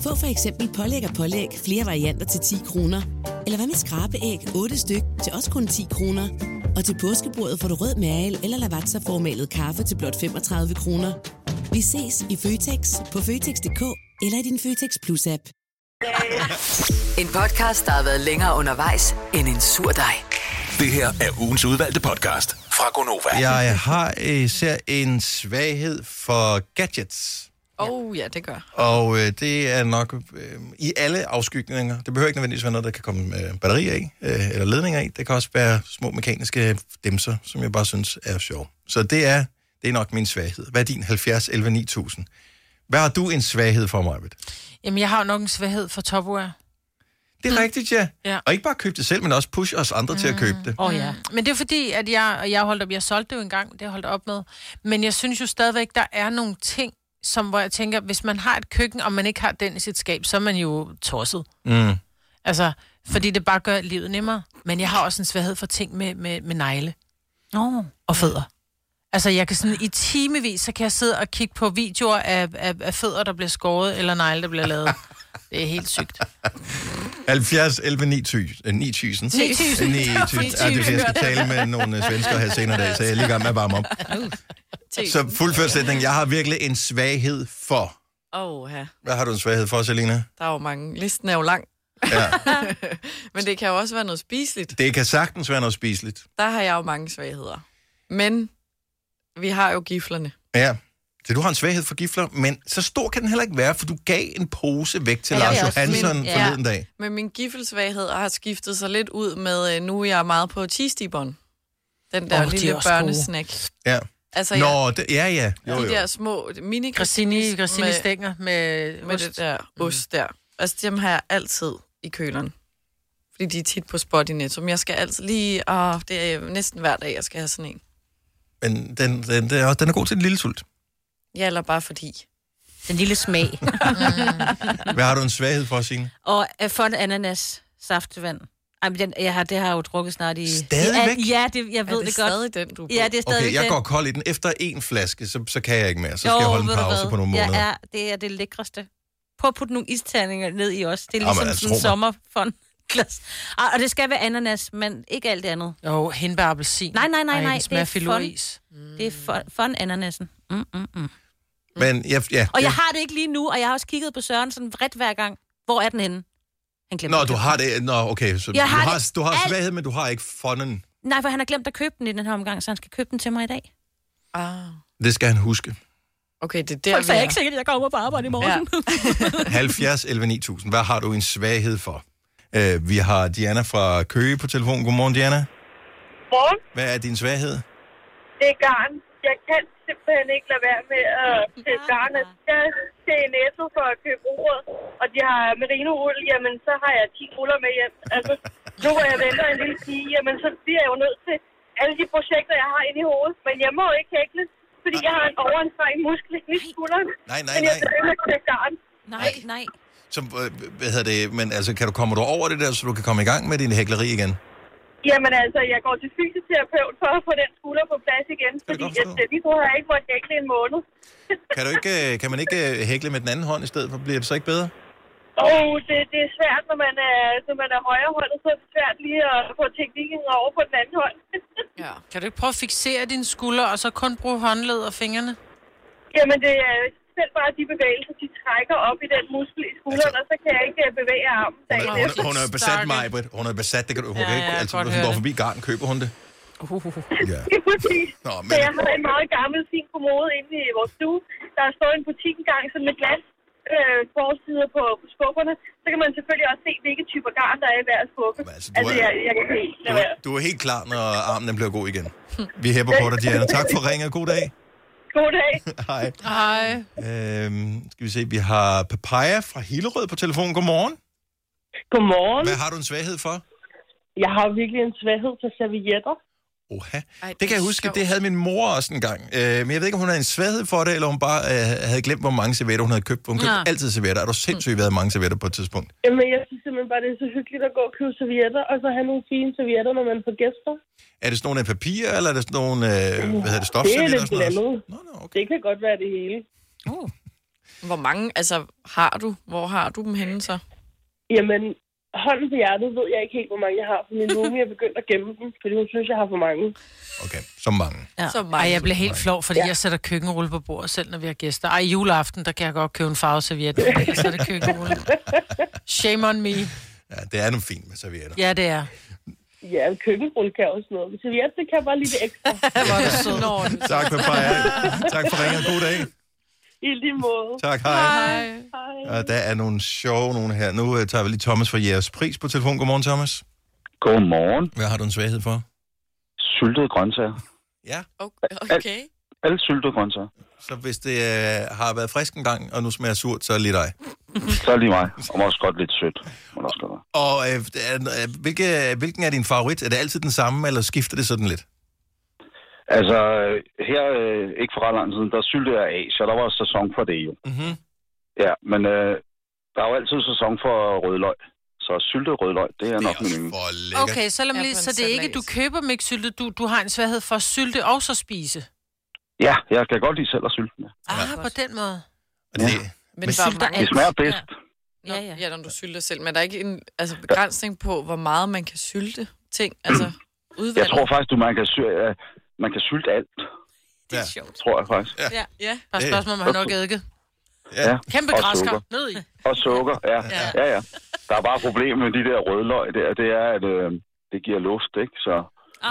[SPEAKER 10] Få for eksempel pålæg og pålæg flere varianter til 10 kroner.
[SPEAKER 13] Eller hvad med skrabeæg 8 styk til også kun 10 kroner? Og til påskebordet får du rød mal eller lavatserformalet kaffe til blot 35 kroner. Vi ses i Føtex på Føtex.dk eller i din Føtex Plus-app.
[SPEAKER 4] En podcast, der har været længere undervejs end en sur dej.
[SPEAKER 6] Det her er ugens udvalgte podcast fra Gonova.
[SPEAKER 1] Jeg har især en svaghed for gadgets.
[SPEAKER 5] Oh, ja, det gør.
[SPEAKER 1] Og øh, det er nok øh, i alle afskygninger. Det behøver ikke nødvendigvis være noget, der kan komme øh, batterier i, øh, eller ledninger i. Det kan også være små mekaniske dæmser, som jeg bare synes er sjov. Så det er, det er nok min svaghed. Hvad er din 70 11 9000? Hvad har du en svaghed for, Marvitt?
[SPEAKER 2] Jamen, jeg har jo nok en svaghed for topwear.
[SPEAKER 1] Det er mm. rigtigt, ja.
[SPEAKER 2] Ja.
[SPEAKER 1] Og ikke bare købe det selv, men også push os andre mm. til at købe det.
[SPEAKER 2] Åh oh, ja. Men det er fordi, at jeg, og jeg holdt op, jeg solgte det jo engang, det har jeg holdt op med. Men jeg synes jo stadigvæk, der er nogle ting, som hvor jeg tænker, hvis man har et køkken, og man ikke har den i sit skab, så er man jo tosset.
[SPEAKER 1] Mm.
[SPEAKER 2] Altså, fordi det bare gør livet nemmere. Men jeg har også en svaghed for ting med, med, med negle.
[SPEAKER 3] Oh.
[SPEAKER 2] Og fødder. Altså, jeg kan sådan i timevis, så kan jeg sidde og kigge på videoer af, af, af fødder, der bliver skåret, eller negle, der bliver lavet. Det er helt sygt.
[SPEAKER 1] 70 11 9000. 9000.
[SPEAKER 2] 9000.
[SPEAKER 1] 9000. Ja, det er, fordi jeg skal tale med nogle øh, svensker her senere i dag, så jeg er lige i gang med at varme op. Så fuldført sætning. Jeg har virkelig en svaghed for.
[SPEAKER 5] Åh, ja.
[SPEAKER 1] Hvad har du en svaghed for, Selina?
[SPEAKER 5] Der er jo mange. Listen er jo lang.
[SPEAKER 1] Ja.
[SPEAKER 5] Men det kan jo også være noget spiseligt.
[SPEAKER 1] Det kan sagtens være noget spiseligt.
[SPEAKER 5] Der har jeg jo mange svagheder. Men vi har jo giflerne.
[SPEAKER 1] Ja. Så du har en svaghed for gifler, men så stor kan den heller ikke være, for du gav en pose væk til
[SPEAKER 5] Ja,
[SPEAKER 1] Lars
[SPEAKER 5] det er også
[SPEAKER 1] Johansson
[SPEAKER 5] min- ja.
[SPEAKER 1] forleden dag.
[SPEAKER 5] Men min giffelsvaghed har skiftet sig lidt ud med, øh, nu er jeg meget på cheese-dibon. Den der
[SPEAKER 2] Åh,
[SPEAKER 5] oh,
[SPEAKER 2] de er
[SPEAKER 5] lille
[SPEAKER 2] også gode.
[SPEAKER 5] børnesnack.
[SPEAKER 1] Ja.
[SPEAKER 5] Altså,
[SPEAKER 1] Nå,
[SPEAKER 5] ja.
[SPEAKER 1] Det, ja, ja. Jo,
[SPEAKER 5] de der
[SPEAKER 1] jo.
[SPEAKER 5] små mini
[SPEAKER 2] Grissini- grissini stænger med
[SPEAKER 5] med
[SPEAKER 2] ost.
[SPEAKER 5] det der ost der. Altså, dem har jeg altid i køleren. Fordi de er tit på spot i Netto. Men jeg skal altid lige... Åh, det er næsten hver dag, jeg skal have sådan en.
[SPEAKER 1] Men den, den, den, er, også- den er god til en lille sult.
[SPEAKER 5] Ja, eller bare fordi.
[SPEAKER 3] Den lille smag. Mm.
[SPEAKER 1] Hvad har du en svaghed for, Signe?
[SPEAKER 3] og øh, fond ananas saftevand. Ej, men den, jeg har, det har jeg jo drukket snart i...
[SPEAKER 1] Stadigvæk?
[SPEAKER 3] Ja, ja, det, jeg ved
[SPEAKER 5] Er
[SPEAKER 3] det,
[SPEAKER 5] det
[SPEAKER 3] godt.
[SPEAKER 5] stadig den, du er på?
[SPEAKER 3] Ja, det er stadig
[SPEAKER 1] Okay, jeg
[SPEAKER 3] den.
[SPEAKER 1] går kold i den. Efter en flaske, så, så kan jeg ikke mere. Så skal jeg holde
[SPEAKER 3] ved
[SPEAKER 1] en
[SPEAKER 3] du
[SPEAKER 1] pause
[SPEAKER 3] hvad?
[SPEAKER 1] på nogle måneder.
[SPEAKER 3] Ja, er, det er det lækreste. Prøv at putte nogle isterninger ned i os. Det er
[SPEAKER 1] Jamen,
[SPEAKER 3] ligesom
[SPEAKER 1] altså,
[SPEAKER 3] sådan
[SPEAKER 1] tro
[SPEAKER 3] en
[SPEAKER 1] mig.
[SPEAKER 3] sommerfond. Glas. Ah, og det skal være ananas, men ikke alt det andet.
[SPEAKER 2] Jo, hindbær og appelsin.
[SPEAKER 3] Nej, nej, nej,
[SPEAKER 2] Ej,
[SPEAKER 3] nej.
[SPEAKER 2] en
[SPEAKER 3] det er fun.
[SPEAKER 2] smørfiloris.
[SPEAKER 3] Det er fun, fun ananasen. Mm, mm, mm.
[SPEAKER 1] Men jeg, ja,
[SPEAKER 3] Og jeg
[SPEAKER 1] det-
[SPEAKER 3] har det ikke lige nu, og jeg har også kigget på Søren sådan vredt hver gang. Hvor er den henne? Han glemte
[SPEAKER 1] Nå,
[SPEAKER 3] at
[SPEAKER 1] du
[SPEAKER 3] købe
[SPEAKER 1] har
[SPEAKER 3] den.
[SPEAKER 1] det. Nå, okay. Så
[SPEAKER 3] Jeg
[SPEAKER 1] du,
[SPEAKER 3] har
[SPEAKER 1] har,
[SPEAKER 3] det
[SPEAKER 1] du har
[SPEAKER 3] alt-
[SPEAKER 1] svaghed, men du har ikke fonden.
[SPEAKER 3] Nej, for han har glemt at købe den i den her omgang, så han skal købe den til mig i dag.
[SPEAKER 5] Ah.
[SPEAKER 1] Det skal han huske.
[SPEAKER 5] Okay, det er
[SPEAKER 3] Der,
[SPEAKER 5] der,
[SPEAKER 3] så er jeg ikke sikkert, at jeg kommer på arbejde i morgen. Ja.
[SPEAKER 1] 70 11 9000. Hvad har du en svaghed for? Uh, vi har Diana fra Køge på telefonen. Godmorgen, Diana.
[SPEAKER 14] Morgen,
[SPEAKER 1] Hvad er din svaghed?
[SPEAKER 14] det er garn. Jeg kan simpelthen ikke lade være med at sætte garn. Jeg skal til Netto for at købe uret, og de har merino-uld, jamen så har jeg 10 ruller med hjem. Altså, nu hvor jeg venter en lille pige, jamen så bliver jeg jo nødt til alle de projekter, jeg har inde i hovedet. Men jeg må jo ikke hækle, fordi jeg har en overanstrengt muskel i skulderen.
[SPEAKER 1] Nej, nej,
[SPEAKER 14] Men jeg
[SPEAKER 1] nej.
[SPEAKER 14] skal ikke sætte garn.
[SPEAKER 3] Nej, nej.
[SPEAKER 1] Så, uh, hvad hedder det? Men altså, kan du komme du over det der, så du kan komme i gang med din hækleri igen?
[SPEAKER 14] Jamen altså, jeg går til fysioterapeut for at få den skulder på plads igen, fordi jeg, lige nu har jeg ikke måttet hækle en måned.
[SPEAKER 1] Kan, du ikke, øh, kan man ikke øh, hækle med den anden hånd i stedet for? Bliver det så ikke bedre?
[SPEAKER 14] Og det, det er svært, når man er, når man er højrehåndet, så er det svært lige at få teknikken over på den anden hånd.
[SPEAKER 5] Ja.
[SPEAKER 2] Kan du ikke prøve at fixere dine skuldre, og så kun bruge håndled og fingrene?
[SPEAKER 14] Jamen, det er selv bare de bevægelser, de trækker op i den muskel i skulderen, og så kan jeg ikke øh, bevæge armen. dagen
[SPEAKER 1] Altså- Hun
[SPEAKER 14] efter.
[SPEAKER 1] er, hun er besat, Majbrit. Hun er besat. Det kan du hun
[SPEAKER 14] Ja,
[SPEAKER 1] kan
[SPEAKER 14] ja,
[SPEAKER 1] ikke.
[SPEAKER 14] jeg
[SPEAKER 1] altså, hvis
[SPEAKER 14] kan godt
[SPEAKER 1] hun
[SPEAKER 14] høre
[SPEAKER 1] går
[SPEAKER 14] det. Uh.
[SPEAKER 1] forbi garn, køber hun det. Ja.
[SPEAKER 14] Det er præcis.
[SPEAKER 1] Nå,
[SPEAKER 14] Nå,
[SPEAKER 1] men-
[SPEAKER 14] men... Så jeg har en meget gammel, fin kommode inde i vores stue. Der står en butik engang sådan med glas øh, forsider på skufferne. Så kan man selvfølgelig også se, hvilke typer garn, der er i hver skuffe. Altså,
[SPEAKER 1] du
[SPEAKER 14] altså
[SPEAKER 1] er-
[SPEAKER 14] jeg, jeg kan ikke lade
[SPEAKER 1] Du,
[SPEAKER 14] være.
[SPEAKER 1] du er helt klar, når armen bliver god igen. Vi hæpper på dig, Diana. Tak for ringet. God dag.
[SPEAKER 14] God dag.
[SPEAKER 1] Hej.
[SPEAKER 2] Hej.
[SPEAKER 1] Øhm, skal vi se, vi har Papaya fra Hillerød på telefonen. Godmorgen.
[SPEAKER 14] Godmorgen.
[SPEAKER 1] Hvad har du en svaghed for?
[SPEAKER 14] Jeg har virkelig en svaghed for servietter.
[SPEAKER 1] Oha. Det kan jeg huske, det havde min mor også en gang. Øh, men jeg ved ikke, om hun havde en svaghed for det, eller hun bare øh, havde glemt, hvor mange servietter hun havde købt. Hun købte
[SPEAKER 14] Nå.
[SPEAKER 1] altid servietter. Er du sindssygt, vi havde mange servietter på et tidspunkt?
[SPEAKER 14] Jamen, jeg synes simpelthen bare, det er så hyggeligt at gå og købe servietter, og så have nogle fine servietter, når man får gæster.
[SPEAKER 1] Er det sådan nogle af papir, eller er det sådan nogle, øh, hvad hedder det,
[SPEAKER 14] det er
[SPEAKER 1] stofservietter? og
[SPEAKER 14] lidt
[SPEAKER 1] sådan noget?
[SPEAKER 14] blandet.
[SPEAKER 1] Nå, nå, okay.
[SPEAKER 14] Det kan godt være det hele.
[SPEAKER 5] Hvor mange, altså, har du? Hvor har du dem henne så?
[SPEAKER 14] Jamen, hånden på hjertet ved jeg ikke helt, hvor mange jeg har, for min roomie er begyndt at gemme dem, fordi hun synes, jeg har for mange.
[SPEAKER 1] Så mange.
[SPEAKER 2] Ja.
[SPEAKER 5] Så
[SPEAKER 2] Ej, jeg blev helt flov, fordi ja. jeg sætter køkkenrulle på bordet selv, når vi har gæster. Ej, juleaften, der kan jeg godt købe en farveserviet, og så er det køkkenrulle. Shame on me.
[SPEAKER 1] Ja, det er nu fint med servietter.
[SPEAKER 2] Ja, det er.
[SPEAKER 14] Ja, køkkenrulle kan også noget. Men serviet, det kan bare lige det ekstra.
[SPEAKER 2] Hvor er du sød.
[SPEAKER 1] Tak, Papaya. tak for ringen. God dag.
[SPEAKER 14] I lige måde.
[SPEAKER 1] Tak, hej.
[SPEAKER 14] Hej.
[SPEAKER 1] Og Øh, der er nogle sjove nogle her. Nu øh, tager vi lige Thomas fra jeres pris på telefon. Godmorgen, Thomas.
[SPEAKER 15] Godmorgen.
[SPEAKER 1] Hvad har du en svaghed for?
[SPEAKER 15] Syltede grøntsager.
[SPEAKER 1] Ja.
[SPEAKER 5] Okay.
[SPEAKER 15] Alle syltede grøntsager.
[SPEAKER 1] Så hvis det øh, har været frisk en gang, og nu smager surt, så er det lige dig.
[SPEAKER 15] Så er det lige mig. Og også godt lidt sødt. Må det også godt være.
[SPEAKER 1] Og øh, er- er- hvilke, hvilken er din favorit? Er det altid den samme, eller skifter det sådan lidt?
[SPEAKER 15] Altså, øh, her, øh, ikke for ret lang tid siden, der syltede jeg af, så der var sæson for det jo.
[SPEAKER 1] Mm-hmm.
[SPEAKER 15] Ja, men øh, der er jo altid sæson for rødløg. Så syltet rødløg, det er nok min yndling.
[SPEAKER 2] Okay, så lad mig lige, så det er ikke, du køber dem ikke syltet, du, du har en svaghed for at sylte og så spise.
[SPEAKER 15] Ja, jeg kan godt lide selv at sylte den.
[SPEAKER 2] Ah, på den måde.
[SPEAKER 5] Men,
[SPEAKER 15] Men
[SPEAKER 5] hvor
[SPEAKER 15] sylter
[SPEAKER 5] mange-
[SPEAKER 15] Det smager bedst.
[SPEAKER 5] Ja, ja. ja, når du sylter selv. Men der er ikke en altså, begrænsning på, hvor meget man kan sylte ting. Altså, udvalg.
[SPEAKER 15] Jeg tror faktisk, du man kan, sy- øh, man kan sylte alt.
[SPEAKER 1] Det er
[SPEAKER 5] sjovt.
[SPEAKER 15] Tror jeg faktisk.
[SPEAKER 5] Ja, ja.
[SPEAKER 2] Bare spørgsmål, om han nok eddike.
[SPEAKER 15] Ja.
[SPEAKER 2] Kæmpe
[SPEAKER 15] og
[SPEAKER 2] græsker.
[SPEAKER 15] sukker.
[SPEAKER 2] Ned i.
[SPEAKER 15] Og sukker, ja.
[SPEAKER 2] Ja.
[SPEAKER 15] ja. ja, ja. Der er bare problemet med de der rødløg der, det er, at øh, det giver luft, ikke? Så,
[SPEAKER 3] Ej.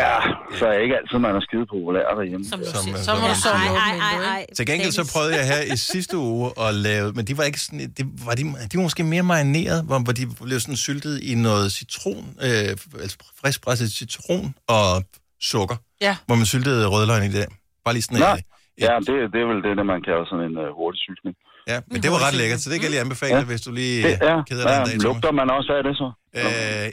[SPEAKER 15] ja, så er ikke altid, man er skide populær derhjemme.
[SPEAKER 3] Som
[SPEAKER 1] du
[SPEAKER 15] som,
[SPEAKER 1] siger.
[SPEAKER 15] som,
[SPEAKER 1] Så må du
[SPEAKER 3] Ej, ej, ej, ej.
[SPEAKER 1] Til gengæld så prøvede jeg her i sidste uge at lave, men de var ikke sådan, de var, de, de var måske mere marineret, hvor, hvor de blev sådan syltet i noget citron, øh, altså friskpresset citron og sukker,
[SPEAKER 2] Ja.
[SPEAKER 1] hvor man syltede rødløgn i det der. Bare lige sådan
[SPEAKER 15] Nå,
[SPEAKER 1] en,
[SPEAKER 15] ja, det, det er vel det, der man kalder sådan en uh, hurtig syltning.
[SPEAKER 1] Ja, men det var ret lækkert, så det kan jeg lige anbefale, ja. hvis du lige
[SPEAKER 15] det, ja,
[SPEAKER 1] keder dig en dag,
[SPEAKER 15] ja, lugter man også af det så?
[SPEAKER 1] Øh,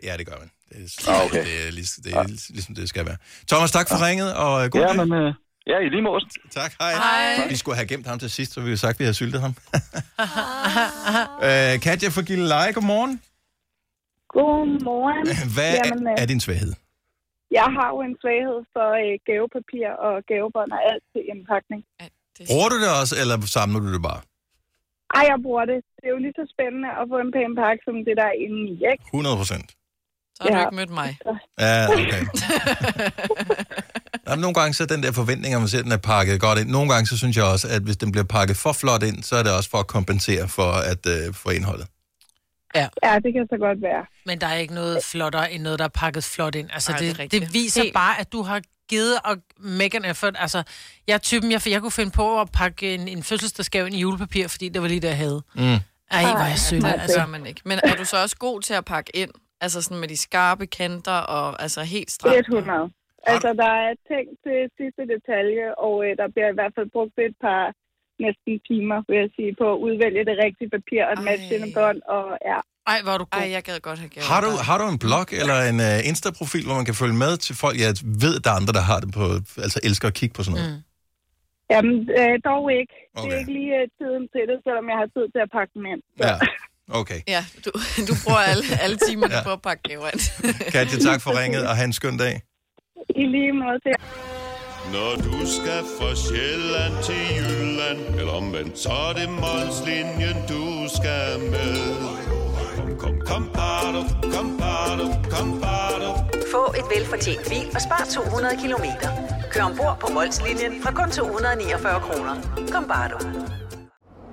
[SPEAKER 1] ja, det gør man. Det er, okay.
[SPEAKER 15] Ah, okay.
[SPEAKER 1] det, er, ligesom, det er ligesom det skal være. Thomas, tak for ringet, og øh, god
[SPEAKER 15] Ja,
[SPEAKER 1] dag.
[SPEAKER 15] men, øh, ja, i lige måde.
[SPEAKER 1] Tak, hej.
[SPEAKER 2] Hej.
[SPEAKER 1] Vi skulle have gemt ham til sidst, så vi havde sagt, at vi havde syltet ham. øh, Katja fra Gilleleje, godmorgen.
[SPEAKER 16] Godmorgen.
[SPEAKER 1] Hvad
[SPEAKER 16] Jamen,
[SPEAKER 1] er,
[SPEAKER 16] øh,
[SPEAKER 1] er din svaghed?
[SPEAKER 16] Jeg har jo en svaghed for øh, gavepapir og gavebånd og alt til indpakning.
[SPEAKER 1] Bruger du det også, eller samler du det bare?
[SPEAKER 16] Ej, jeg bruger det. Det er jo lige så spændende at få en pæn pakke som det, der er inde i, ikke?
[SPEAKER 1] 100 procent.
[SPEAKER 5] Så har du ikke mødt mig.
[SPEAKER 1] Ja, okay. Nå, men nogle gange så er den der forventning, om man ser, at den er pakket godt ind. Nogle gange så synes jeg også, at hvis den bliver pakket for flot ind, så er det også for at kompensere for, at, øh, for indholdet.
[SPEAKER 2] Ja.
[SPEAKER 16] ja, det kan så godt være.
[SPEAKER 2] Men der er ikke noget flottere end noget, der er pakket flot ind. Altså,
[SPEAKER 5] Nej,
[SPEAKER 2] Ej,
[SPEAKER 5] det er
[SPEAKER 2] det, det,
[SPEAKER 5] rigtigt.
[SPEAKER 2] det viser Helt. bare, at du har givet og make an effort. Altså, jeg er typen, jeg, jeg kunne finde på at pakke en, en fødselsdagsgave ind i julepapir, fordi det var lige det, jeg havde.
[SPEAKER 1] Mm.
[SPEAKER 2] Ej, hvor er jeg sødt.
[SPEAKER 5] Nej, det
[SPEAKER 2] Altså.
[SPEAKER 5] gør man ikke. Men øh, er du så også god til at pakke ind? Altså sådan med de skarpe kanter og altså helt stramt?
[SPEAKER 16] 100. Altså, der er ting til sidste detalje, og øh, der bliver i hvert fald brugt et par næsten timer, vil jeg sige, på at udvælge det rigtige papir og et matchende bånd, og ja.
[SPEAKER 2] Ej, hvor er du god.
[SPEAKER 5] Ej, jeg gad godt have gavet.
[SPEAKER 1] Har du, har du en blog eller en uh, Insta-profil, hvor man kan følge med til folk? Jeg ved, at der er andre, der har det på, altså elsker at kigge på sådan noget. Mm.
[SPEAKER 16] Jamen, øh, dog ikke. Okay. Det
[SPEAKER 1] Okay.
[SPEAKER 16] er ikke lige øh, tiden til det, selvom jeg har tid til at pakke dem ind.
[SPEAKER 1] Ja, okay.
[SPEAKER 5] Ja, du, du bruger alle, alle timerne
[SPEAKER 1] Ja.
[SPEAKER 5] ja. på at pakke gaver. ind.
[SPEAKER 1] Katja, tak for ringet, og have en skøn dag.
[SPEAKER 16] I lige måde til.
[SPEAKER 17] Når du skal fra Sjælland til Jylland, eller omvendt, så er det Molslinjen, du skal med. Kom, kom, kom, bado, kom, bado, kom, bado.
[SPEAKER 4] Få et velfortjent bil og spar 200 kilometer. Kør ombord på Molslinjen fra kun 249 kroner. Kom bare du.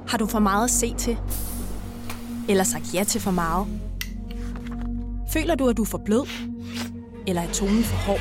[SPEAKER 18] Har du for meget at se til? Eller sagt ja til for meget? Føler du, at du er for blød? Eller er tonen for hård?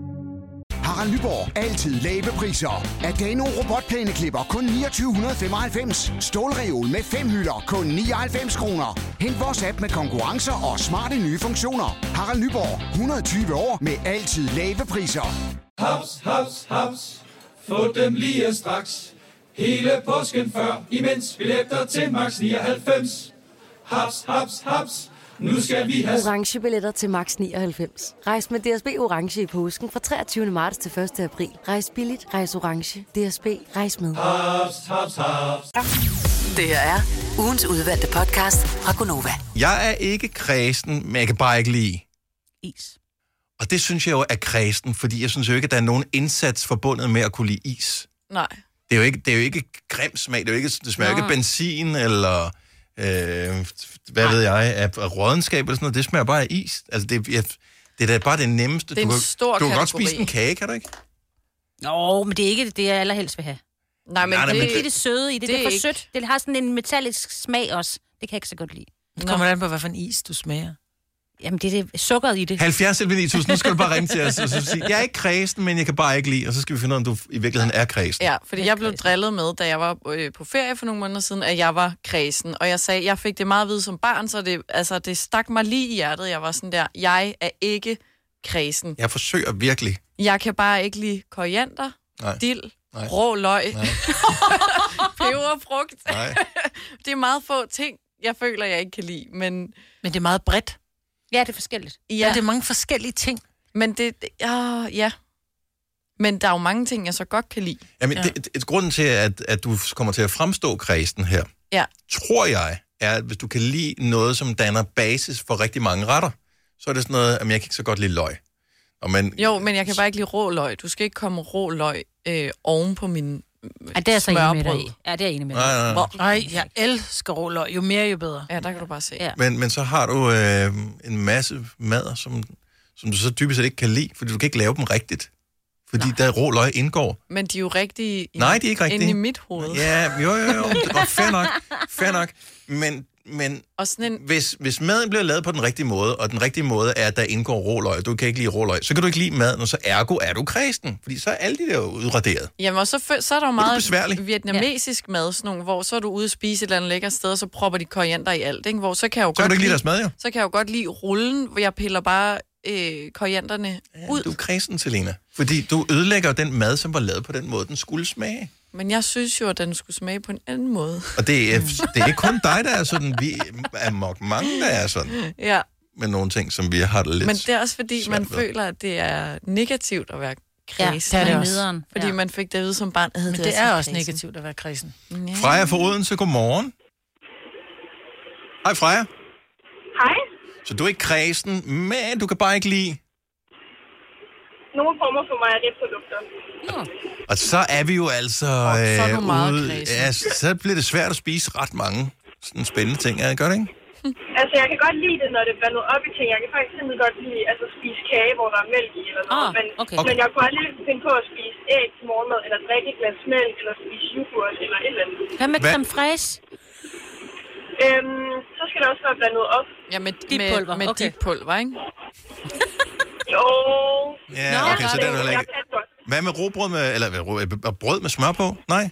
[SPEAKER 19] Harald Nyborg. Altid lave priser. Adano robotplæneklipper kun 2995. Stålreol med fem hylder kun 99 kroner. Hent vores app med konkurrencer og smarte nye funktioner. Harald Nyborg. 120 år med altid lave priser.
[SPEAKER 20] Haps, haps, haps. Få dem lige straks. Hele påsken før, imens vi læfter til max 99. Haps, haps, haps. Nu skal vi have...
[SPEAKER 21] orange billetter til max 99. Rejs med DSB orange i påsken fra 23. marts til 1. april. Rejs billigt, rejs orange. DSB rejs med.
[SPEAKER 20] Haps, haps, haps.
[SPEAKER 4] Det her er ugens udvalgte podcast fra Gonova.
[SPEAKER 1] Jeg er ikke kredsen, men jeg kan bare ikke lide.
[SPEAKER 4] Is.
[SPEAKER 1] Og det synes jeg jo er kredsen, fordi jeg synes jo ikke, at der er nogen indsats forbundet med at kunne lide is.
[SPEAKER 5] Nej.
[SPEAKER 1] Det er jo ikke, det er jo ikke grim smag, det, er jo ikke, det smager jo
[SPEAKER 5] Nå.
[SPEAKER 1] ikke benzin eller... Øh, hvad ved jeg, af af rådenskab eller sådan noget, det smager bare af is. Altså, det, jeg, det er da bare det nemmeste.
[SPEAKER 3] Det er en
[SPEAKER 1] du kan,
[SPEAKER 3] stor
[SPEAKER 1] du kan godt
[SPEAKER 3] kategori.
[SPEAKER 1] spise en kage, kan du ikke?
[SPEAKER 3] Nå, men det er ikke det, jeg allerhelst vil have.
[SPEAKER 5] Nej,
[SPEAKER 1] men Nej, nej, det-
[SPEAKER 3] det,
[SPEAKER 1] men
[SPEAKER 3] det,
[SPEAKER 1] det-
[SPEAKER 3] er det søde i det. Det,
[SPEAKER 5] det
[SPEAKER 3] det
[SPEAKER 5] er
[SPEAKER 3] er for
[SPEAKER 5] ikke-
[SPEAKER 3] sødt. Det har sådan en metallisk smag også. Det kan jeg ikke så godt lide.
[SPEAKER 2] Det kommer an på, hvad for en is du smager.
[SPEAKER 3] Jamen, det er det sukkeret i det.
[SPEAKER 1] 70 11 9000, nu skal du bare ringe til os og så sige, jeg er ikke kredsen, men jeg kan bare ikke lide, og så skal vi finde ud af, om du i virkeligheden er kredsen.
[SPEAKER 5] Ja, fordi jeg blev drillet med, da jeg var øh, på ferie for nogle måneder siden, at jeg var kredsen. Og jeg sagde, jeg fik det meget vidt som barn, så det, altså, det stak mig lige i hjertet. Jeg var sådan der, jeg er ikke kredsen.
[SPEAKER 1] Jeg forsøger virkelig.
[SPEAKER 5] Jeg kan bare ikke lide koriander,
[SPEAKER 1] Nej.
[SPEAKER 5] dild,
[SPEAKER 1] Nej.
[SPEAKER 5] rå løg, peber og frugt.
[SPEAKER 1] Nej.
[SPEAKER 5] det er meget få ting, jeg føler, jeg ikke kan lide, men...
[SPEAKER 2] Men det er meget bredt.
[SPEAKER 3] Ja, det er forskelligt.
[SPEAKER 5] Ja,
[SPEAKER 2] Ja, det er mange forskellige ting.
[SPEAKER 5] Men det... det ja, ja. Men der er jo mange ting, jeg så godt kan lide.
[SPEAKER 1] Jamen,
[SPEAKER 5] ja.
[SPEAKER 1] ja. det, det, grunden til, at, at du kommer til at fremstå kredsen her,
[SPEAKER 5] Ja.
[SPEAKER 1] tror jeg, er, at hvis du kan lide noget, som danner basis for rigtig mange retter, så er det sådan noget, at jeg kan ikke så godt lide løg. Og man,
[SPEAKER 5] Jo, men jeg kan bare ikke lide rå løg. Du skal ikke komme rå løg øh, oven på min øh,
[SPEAKER 3] Ja, det er jeg så enig med dig
[SPEAKER 5] smørbrød.
[SPEAKER 3] i. Ja, det er jeg enig med
[SPEAKER 1] Nej, nej, nej.
[SPEAKER 3] Hvor-
[SPEAKER 2] Nej, jeg elsker råløg. Jo mere, jo bedre.
[SPEAKER 5] Ja, der kan du bare se.
[SPEAKER 3] Ja.
[SPEAKER 1] men, men så har du øh, en masse mader, som, som du så dybest set ikke kan lide, fordi du kan ikke lave dem rigtigt. Fordi Nej. der rå løg indgår.
[SPEAKER 5] Men de er jo rigtige i-
[SPEAKER 1] Nej, de er ikke rigtige.
[SPEAKER 5] inde i mit hoved.
[SPEAKER 1] Ja, jo, jo, jo. Det var fair nok. Fair nok. Men, men
[SPEAKER 5] Og sådan en...
[SPEAKER 1] hvis, hvis maden bliver lavet på den rigtige måde, og den rigtige måde er, at der indgår råløg, og du kan ikke lide råløg, så kan du ikke lide maden, og så ergo er du kristen, fordi så er alle de der jo udraderet.
[SPEAKER 5] Jamen, og så, fø- så er der jo
[SPEAKER 1] er
[SPEAKER 5] meget
[SPEAKER 1] besværlig.
[SPEAKER 5] vietnamesisk mad, sådan nogle, hvor så er du ude at spise et eller andet lækkert sted, og så propper de koriander i alt, ikke? Hvor så kan jeg jo
[SPEAKER 1] kan
[SPEAKER 5] godt
[SPEAKER 1] du ikke lide deres mad, jo.
[SPEAKER 5] Så kan jeg jo godt lide rullen, hvor jeg piller bare øh, korianderne ud.
[SPEAKER 1] Du er kristen, Selena. Fordi du ødelægger jo den mad, som var lavet på den måde, den skulle smage.
[SPEAKER 5] Men jeg synes jo, at den skulle smage på en anden måde.
[SPEAKER 1] Og det er, det er ikke kun dig, der er sådan. Vi er nok mange, der er sådan.
[SPEAKER 5] Ja,
[SPEAKER 1] Med nogle ting, som vi har det lidt.
[SPEAKER 5] men det er også fordi, man
[SPEAKER 1] svært ved.
[SPEAKER 5] føler, at det er negativt at være kredsen.
[SPEAKER 2] det er det også. Nederen,
[SPEAKER 5] Fordi
[SPEAKER 2] ja.
[SPEAKER 5] man fik det at vide som barn. at
[SPEAKER 2] Men det er også negativt at være kredsen. Øhm.
[SPEAKER 1] Freja fra Odense, godmorgen. Hej Freja.
[SPEAKER 14] Hej.
[SPEAKER 1] Så du er ikke kredsen, men du kan bare ikke lide.
[SPEAKER 14] Nogle former for mejeriprodukter.
[SPEAKER 1] Og så er vi jo altså
[SPEAKER 14] så er du meget kræsen.
[SPEAKER 1] ja, så bliver det svært at spise ret mange sådan spændende ting, er det godt, ikke?
[SPEAKER 14] Altså, jeg kan godt lide det, når det er blandet op i ting. Jeg kan faktisk simpelthen godt lide altså, spise kage, hvor der er mælk i eller noget.
[SPEAKER 3] Ah,
[SPEAKER 14] men,
[SPEAKER 3] okay.
[SPEAKER 14] men jeg kunne aldrig finde på at spise æg til morgenmad, eller drikke et glas mælk, eller spise yoghurt, eller et eller andet.
[SPEAKER 3] Hvad med
[SPEAKER 1] Hvad-
[SPEAKER 3] creme fraise?
[SPEAKER 14] Øhm, så skal det også være blandet op.
[SPEAKER 5] Ja, med,
[SPEAKER 14] dit
[SPEAKER 5] med- pulver, med okay. dit pulver, ikke?
[SPEAKER 14] Jo.
[SPEAKER 1] Ja, okay, så det er du heller ikke. Hvad med råbrød med, eller hvad, rå- øh, brød med smør på? Nej.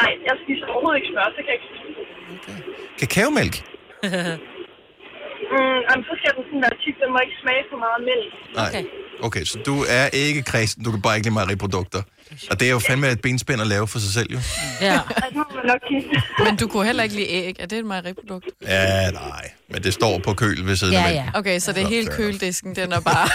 [SPEAKER 14] Nej, jeg spiser overhovedet ikke smør, så kan jeg ikke spise det.
[SPEAKER 1] Kakaomælk?
[SPEAKER 14] Mm, jamen, så skal den sådan være tyk, den må ikke smage for meget mælk.
[SPEAKER 1] Nej. Okay. Okay, så du er ikke kredsen, du kan bare ikke lide mejeriprodukter. Og det er jo fandme et benspænd at lave for sig selv, jo.
[SPEAKER 5] Ja.
[SPEAKER 14] Okay.
[SPEAKER 5] Men du kunne heller ikke lide æg. Er det et mejeriprodukt?
[SPEAKER 1] Ja, nej. Men det står på køl ved siden af mælken.
[SPEAKER 5] Okay, så det er
[SPEAKER 1] Nå,
[SPEAKER 5] hele
[SPEAKER 1] fair nok.
[SPEAKER 5] køledisken, den er bare...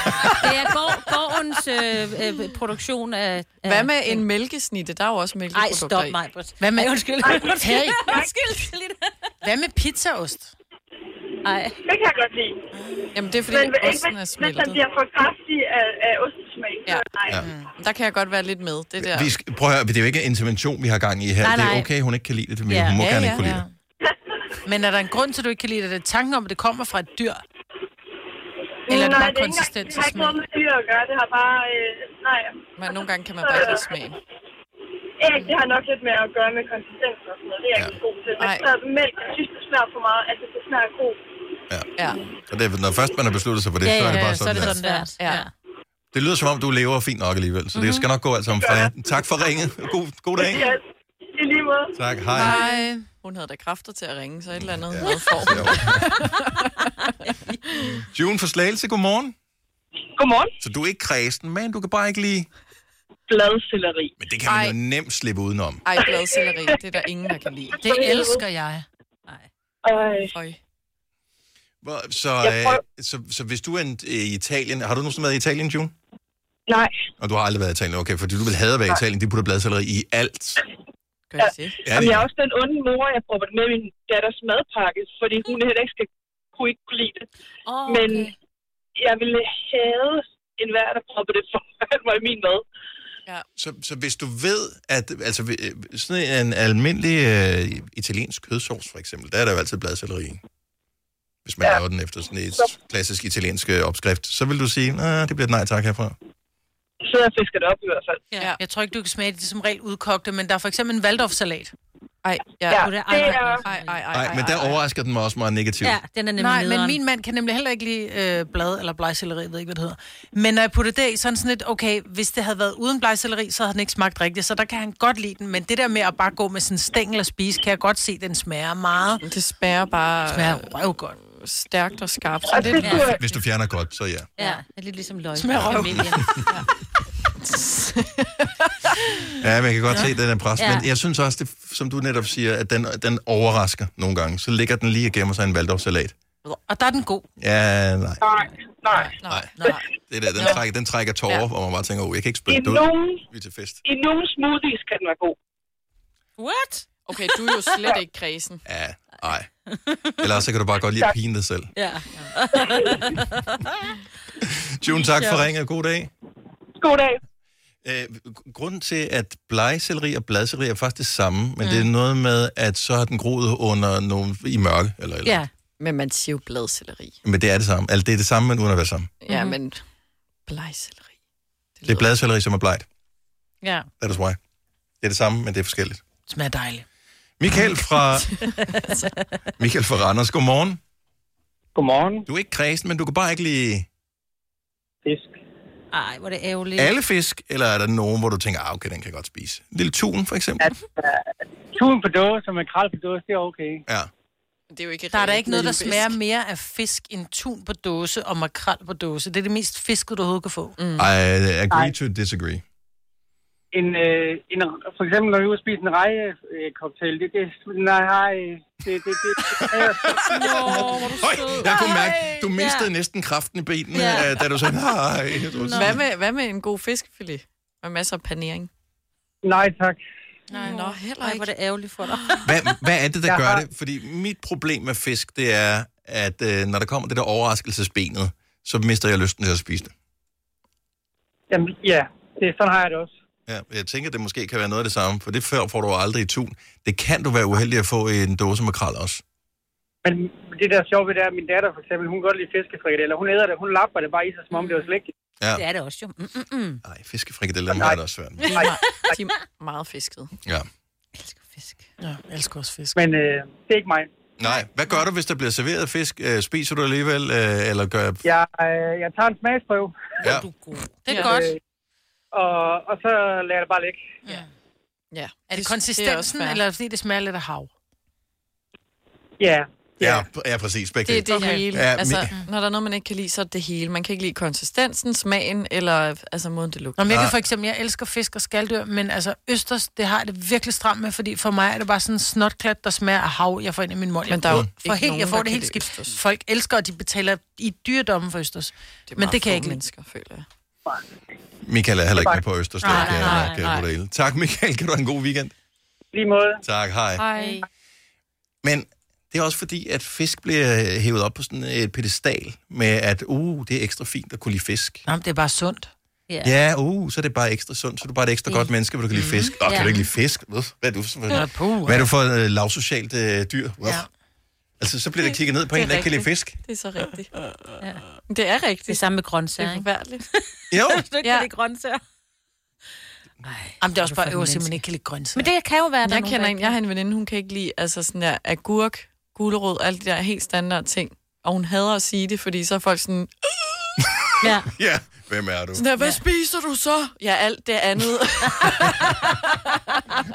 [SPEAKER 3] Det er gård, gårdens øh, øh, produktion af... af
[SPEAKER 5] Hvad med en mælkesnitte? Der er jo også
[SPEAKER 3] Ej,
[SPEAKER 5] mælkeprodukter
[SPEAKER 3] stop
[SPEAKER 5] i.
[SPEAKER 3] mig.
[SPEAKER 2] Hvad med-
[SPEAKER 3] Ej, undskyld.
[SPEAKER 2] Ej,
[SPEAKER 3] undskyld.
[SPEAKER 2] hey.
[SPEAKER 3] undskyld.
[SPEAKER 2] Hvad med pizzaost?
[SPEAKER 3] Ej.
[SPEAKER 14] Det kan jeg godt lide.
[SPEAKER 5] Jamen, det er fordi,
[SPEAKER 14] Men ikke,
[SPEAKER 5] osten
[SPEAKER 14] hvis,
[SPEAKER 5] er
[SPEAKER 14] hvis
[SPEAKER 5] smeltet.
[SPEAKER 14] den bliver for kraftig af, af ostesmag, så
[SPEAKER 5] Ja. Mm.
[SPEAKER 14] nej.
[SPEAKER 1] Ja.
[SPEAKER 5] Der kan jeg godt være lidt med, det der.
[SPEAKER 1] Vi skal, prøv at høre, det er jo ikke en intervention, vi har gang i her.
[SPEAKER 2] Nej,
[SPEAKER 1] Det
[SPEAKER 2] nej.
[SPEAKER 1] er okay, hun ikke kan lide det, men hun må gerne ikke kunne lide det.
[SPEAKER 2] Men er der en grund til, at du ikke kan lide det? Er det tanken om, at det kommer fra et dyr? Eller er det
[SPEAKER 14] Mm, nej,
[SPEAKER 2] bare konsistens
[SPEAKER 14] det
[SPEAKER 2] og
[SPEAKER 14] har ikke
[SPEAKER 2] smag?
[SPEAKER 14] noget med dyr at gøre, det har bare... Øh, nej.
[SPEAKER 5] Men nogle gange kan man bare ikke lide smagen.
[SPEAKER 14] Æg, Øh, det har nok lidt med at gøre med konsistens og sådan noget. Det er jeg ikke så god til. Men
[SPEAKER 5] Nej.
[SPEAKER 14] så mælk, jeg synes, det smager for meget. Altså, det smager god.
[SPEAKER 5] Ja.
[SPEAKER 1] Og det, er, når først man har besluttet sig for det, ja, så er det bare sådan, det,
[SPEAKER 2] der.
[SPEAKER 5] Ja.
[SPEAKER 1] det lyder som om, du lever fint nok alligevel, så det skal nok gå alt sammen. Freja. Tak for ringet. God, god dag.
[SPEAKER 14] Ja, I lige måde.
[SPEAKER 1] Tak, hej.
[SPEAKER 5] Hej. Hun havde da kræfter til at ringe, så et eller andet ja. havde for.
[SPEAKER 1] June for Slagelse, godmorgen.
[SPEAKER 14] Godmorgen.
[SPEAKER 1] Så du er ikke kredsen, men du kan bare ikke lide...
[SPEAKER 14] Bladcelleri.
[SPEAKER 1] Men det kan man jo nemt slippe udenom.
[SPEAKER 5] Ej, bladcelleri, det er der ingen, der kan lide.
[SPEAKER 2] Det elsker jeg.
[SPEAKER 5] Øj.
[SPEAKER 1] Hvor- Så,
[SPEAKER 5] Jeg prøver-
[SPEAKER 1] øh, så, så hvis du er en, øh, i Italien... Har du nogensinde været i Italien, June?
[SPEAKER 14] Nej.
[SPEAKER 1] Og du har aldrig været i Italien, okay, fordi du vil have at være i Italien. De putter bladcelleri i alt.
[SPEAKER 5] Gør
[SPEAKER 14] Ja.
[SPEAKER 5] I det?
[SPEAKER 14] Jamen, jeg er også den onde mor, jeg prøver det med i min datters madpakke, fordi hun heller ikke skal kunne ikke kunne lide det.
[SPEAKER 3] Oh,
[SPEAKER 14] Men jeg ville have en hver, der prøver det foran mig i min mad.
[SPEAKER 1] Så, så hvis du ved, at altså, øh, sådan en almindelig øh, italiensk kødsovs, for eksempel, der er der jo altid bladcelleri i. Hvis man ja. laver den efter sådan et klassisk italiensk øh, opskrift, så vil du sige, nej, det bliver et nej tak herfra.
[SPEAKER 14] Så jeg fisker det op i hvert fald.
[SPEAKER 2] Ja. Jeg tror ikke, du kan smage det som regel udkogte, men der er for eksempel en Waldorf-salat.
[SPEAKER 5] Ej,
[SPEAKER 2] ja.
[SPEAKER 3] Ja, det er-
[SPEAKER 5] Ej, ej, ej.
[SPEAKER 1] Nej, men der overrasker den mig også meget negativt.
[SPEAKER 2] Ja,
[SPEAKER 1] Ja.
[SPEAKER 3] den er nemlig
[SPEAKER 2] Nej, men
[SPEAKER 3] nederen.
[SPEAKER 2] min mand kan nemlig heller ikke lide øh, blad eller blegselleri, jeg ved ikke, hvad det hedder. Men når jeg putter det i, så er han sådan lidt, okay, hvis det havde været uden blegselleri, så havde den ikke smagt rigtigt, så der kan han godt lide den. Men det der med at bare gå med sådan en stængel og spise, kan jeg godt se, den smager meget.
[SPEAKER 5] Det smager bare... øh,
[SPEAKER 2] smager røvgodt.
[SPEAKER 5] Stærkt og skarpt.
[SPEAKER 2] Så det, ja.
[SPEAKER 1] Hvis du fjerner godt, så ja.
[SPEAKER 3] Ja, det er lidt ligesom løg.
[SPEAKER 2] Smager røv.
[SPEAKER 3] Familien.
[SPEAKER 1] Ja, men jeg kan godt ja. se, at den er pres. Ja.
[SPEAKER 3] Ja.
[SPEAKER 1] Men jeg synes også, det, som du netop siger, at den, den overrasker nogle gange. Så ligger den lige og gemmer sig i en Waldorf-salat.
[SPEAKER 2] Og der er den god.
[SPEAKER 1] Ja, nej.
[SPEAKER 14] Nej, nej.
[SPEAKER 1] Nej. Det der, den, trækker, den trækker tårer, ja. hvor man bare tænker, oh, jeg kan ikke
[SPEAKER 14] I
[SPEAKER 1] spille det ud.
[SPEAKER 14] nogen,
[SPEAKER 1] Vi er til fest.
[SPEAKER 14] I nogen smoothies kan den være god.
[SPEAKER 5] What? Okay, du er jo slet ikke kredsen.
[SPEAKER 1] Ja, nej. Ellers så kan du bare godt lide at pine dig selv.
[SPEAKER 3] Ja.
[SPEAKER 1] June, tak for ringet. God dag.
[SPEAKER 14] God dag.
[SPEAKER 1] Øh, gr- grunden til, at blegselleri og bladselleri er faktisk det samme, men mm. det er noget med, at så har den groet under nogle, i mørke. Eller, eller.
[SPEAKER 5] Ja. Men man siger jo bladcelleri.
[SPEAKER 1] Men det er det samme. Altså, det er det samme, men uden at være samme.
[SPEAKER 5] Ja, men blegcelleri.
[SPEAKER 1] Det er bladselleri, som er blegt.
[SPEAKER 2] Ja.
[SPEAKER 1] That is why. Det er det samme, men det er forskelligt.
[SPEAKER 2] Smager dejligt.
[SPEAKER 1] Michael fra, Michael fra Randers, godmorgen.
[SPEAKER 7] Godmorgen.
[SPEAKER 1] Du er ikke kredsen, men du kan bare ikke lide
[SPEAKER 7] Fisk.
[SPEAKER 3] Ej, hvor er det ærgerligt.
[SPEAKER 1] alle fisk, eller er der nogen, hvor du tænker, ah, okay, den kan jeg godt spise? En lille tun, for eksempel?
[SPEAKER 7] Tun på dåse og makrel på dåse, det er okay.
[SPEAKER 1] Ja.
[SPEAKER 5] Det er jo ikke
[SPEAKER 2] Der er der ikke noget, der smager mere af fisk end tun på dåse og makrel på dåse. Det er det mest fiskede, du overhovedet kan få. Mm.
[SPEAKER 1] I agree to disagree.
[SPEAKER 7] En, øh, en, for eksempel, når vi er ude at spise en rejecocktail, øh, cocktail, det, det, nej, nej, det, det, det, det,
[SPEAKER 1] Høj, jeg kunne mærke, du mistede ja. næsten kraften i benene, ja. da du sagde, nej. Du
[SPEAKER 5] Hvad med, hvad med en god fiskefilet? Med masser af panering.
[SPEAKER 7] nej, tak.
[SPEAKER 5] Nej, nå, heller ikke. Ah. Ej, hvor
[SPEAKER 3] er det ærgerligt for dig.
[SPEAKER 1] Hvad, hvad er det, der
[SPEAKER 7] Jeg
[SPEAKER 1] gør
[SPEAKER 7] har-
[SPEAKER 1] det? Fordi mit problem med fisk, det er, at øh, når der kommer det der overraskelsesbenet, så mister jeg lysten til at spise det.
[SPEAKER 7] Jamen, ja, det, sådan har jeg det også.
[SPEAKER 1] Ja, jeg tænker, det måske kan være noget af det samme, for det før får du aldrig i tun. Det kan du være uheldig at få i en dåse makrel også.
[SPEAKER 7] Men det der er sjovt ved det er, at min datter for eksempel, hun kan godt lide fiskefrikadeller. Hun æder det, hun lapper det bare i sig, som om det var slik.
[SPEAKER 1] Ja.
[SPEAKER 3] Det er det også jo. Mm, mm, mm.
[SPEAKER 1] Nej, fiskefrikadeller har jeg det også svært med.
[SPEAKER 7] Nej,
[SPEAKER 5] De er meget fiskede.
[SPEAKER 1] Ja.
[SPEAKER 2] Ja, jeg elsker også fisk.
[SPEAKER 7] Men øh, det er ikke mig.
[SPEAKER 1] Nej, hvad gør du, hvis der bliver serveret fisk? Øh, spiser du alligevel, øh, eller gør...
[SPEAKER 7] Jeg, øh, jeg tager en smagsprøve.
[SPEAKER 1] Ja.
[SPEAKER 2] Det er ja. godt.
[SPEAKER 7] Øh, og, og så lader jeg det bare ligge.
[SPEAKER 5] Ja.
[SPEAKER 2] Er det
[SPEAKER 5] Det- det er også
[SPEAKER 2] konsistensen,
[SPEAKER 5] fair.
[SPEAKER 2] det eller er det, fordi det smager lidt af hav?
[SPEAKER 7] Ja.
[SPEAKER 1] Ja, ja præcis. Begge
[SPEAKER 5] Det er det okay. hele.
[SPEAKER 1] Ja,
[SPEAKER 5] Ja,
[SPEAKER 1] mi-
[SPEAKER 5] altså, når der er noget, man ikke kan lide, så er det det hele. Man kan ikke lide konsistensen, smagen, eller altså måden, det lugter.
[SPEAKER 2] Nå, men jeg kan
[SPEAKER 5] Ah.
[SPEAKER 2] for eksempel, jeg elsker fisk og skaldyr, men altså østers, det har jeg det virkelig stramt med, fordi for mig er det bare sådan en snotklat, der smager af hav, jeg får ind i min mund.
[SPEAKER 5] Men der er jo
[SPEAKER 2] Jeg- for
[SPEAKER 5] ikke
[SPEAKER 2] helt,
[SPEAKER 5] nogen,
[SPEAKER 2] Jeg får
[SPEAKER 5] der
[SPEAKER 2] det
[SPEAKER 5] kan
[SPEAKER 2] helt
[SPEAKER 5] lide
[SPEAKER 2] skidt. Folk elsker, og de betaler i dyredommen for østers.
[SPEAKER 5] Det
[SPEAKER 2] men det kan jeg ikke lide.
[SPEAKER 5] mennesker, føler jeg.
[SPEAKER 1] Michael er heller ikke med på Østers.
[SPEAKER 2] Nej,
[SPEAKER 1] Nej, kan,
[SPEAKER 2] nej,
[SPEAKER 1] nej, kan jeg vurdere. Tak, Michael. Kan du have en god weekend?
[SPEAKER 7] Lige måde.
[SPEAKER 1] Tak, hej.
[SPEAKER 5] Hej.
[SPEAKER 1] Men det er også fordi, at fisk bliver hævet op på sådan et pedestal med, at uh, det er ekstra fint at kunne lide fisk.
[SPEAKER 2] Nå, men det er bare sundt.
[SPEAKER 1] Ja, ja uh, så er det bare ekstra sundt, så er du bare et ekstra godt menneske, hvor du kan lide fisk. Åh, oh, kan
[SPEAKER 2] Ja.
[SPEAKER 1] du ikke lide fisk? Hvad er du for,
[SPEAKER 2] Ja, puh.
[SPEAKER 1] hvad er du for et uh, lavsocialt uh, dyr? Uh.
[SPEAKER 2] Ja.
[SPEAKER 1] Altså, så bliver der kigget ned på
[SPEAKER 5] Det er
[SPEAKER 1] en, der ikke kan lide
[SPEAKER 5] rigtigt.
[SPEAKER 1] fisk.
[SPEAKER 5] Det er så rigtigt. Ja. Det er rigtigt. Det er
[SPEAKER 3] samme med grøntsager,
[SPEAKER 5] Det er
[SPEAKER 3] ikke?
[SPEAKER 5] forfærdeligt.
[SPEAKER 1] Jo.
[SPEAKER 3] Du ikke ja. det grøntsager.
[SPEAKER 2] Jamen, det er også
[SPEAKER 5] for
[SPEAKER 2] bare
[SPEAKER 5] et
[SPEAKER 2] øverst, at man
[SPEAKER 5] menneske.
[SPEAKER 2] ikke kan lide grøntsager.
[SPEAKER 3] Men det kan jo være, at der
[SPEAKER 5] Jeg
[SPEAKER 3] er nogen,
[SPEAKER 5] kender
[SPEAKER 3] der
[SPEAKER 5] en, jeg har en veninde, hun kan ikke lide altså sådan der agurk, gulerod, alle de der helt standard ting. Og hun hader at sige det, fordi så er folk sådan, "Øh."
[SPEAKER 3] Ja.
[SPEAKER 1] ja, hvem er du?
[SPEAKER 5] sådan der, hvad ja. spiser du så? Ja, alt det andet.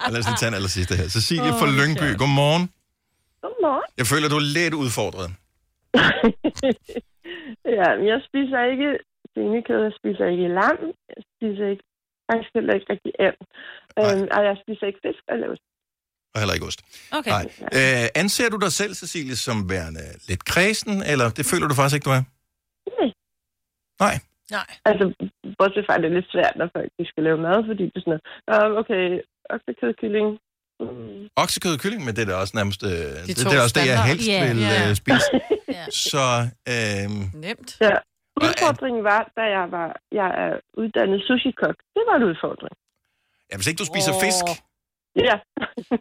[SPEAKER 1] Og Lad os lige tage en aller sidste her. Cecilie
[SPEAKER 22] Åh,
[SPEAKER 1] fra Lyngby,
[SPEAKER 22] sjovt.
[SPEAKER 1] godmorgen.
[SPEAKER 22] Godmorgen.
[SPEAKER 1] Jeg føler, du er lidt udfordret.
[SPEAKER 22] Ja, men jeg spiser ikke senekød, jeg spiser ikke lam, jeg spiser ikke faktisk heller ikke rigtig and. Øhm, og jeg spiser ikke fisk og laver
[SPEAKER 1] Og heller ikke ost.
[SPEAKER 22] Okay.
[SPEAKER 1] Nej. Øh, anser du dig selv, Cecilie, som værende lidt kredsen, eller det føler du faktisk ikke, du er? Nej.
[SPEAKER 2] Nej.
[SPEAKER 22] Altså, bortset fra, at det er lidt svært, når folk de skal lave mad, fordi det er sådan noget, "Nå, okay, oksekød, kylling,
[SPEAKER 1] Oksekød og kylling, men det er da også nærmest øh, det, det,
[SPEAKER 5] to
[SPEAKER 1] er da også det, jeg
[SPEAKER 5] standard.
[SPEAKER 1] helst
[SPEAKER 5] Ja.
[SPEAKER 1] vil
[SPEAKER 5] Ja.
[SPEAKER 1] øh, spise. Så øhm,
[SPEAKER 5] Nemt.
[SPEAKER 22] Ja. Udfordringen var, da jeg var jeg er uddannet sushi-kok. Det var en udfordring.
[SPEAKER 1] ja, hvis ikke du spiser fisk,
[SPEAKER 22] Ja.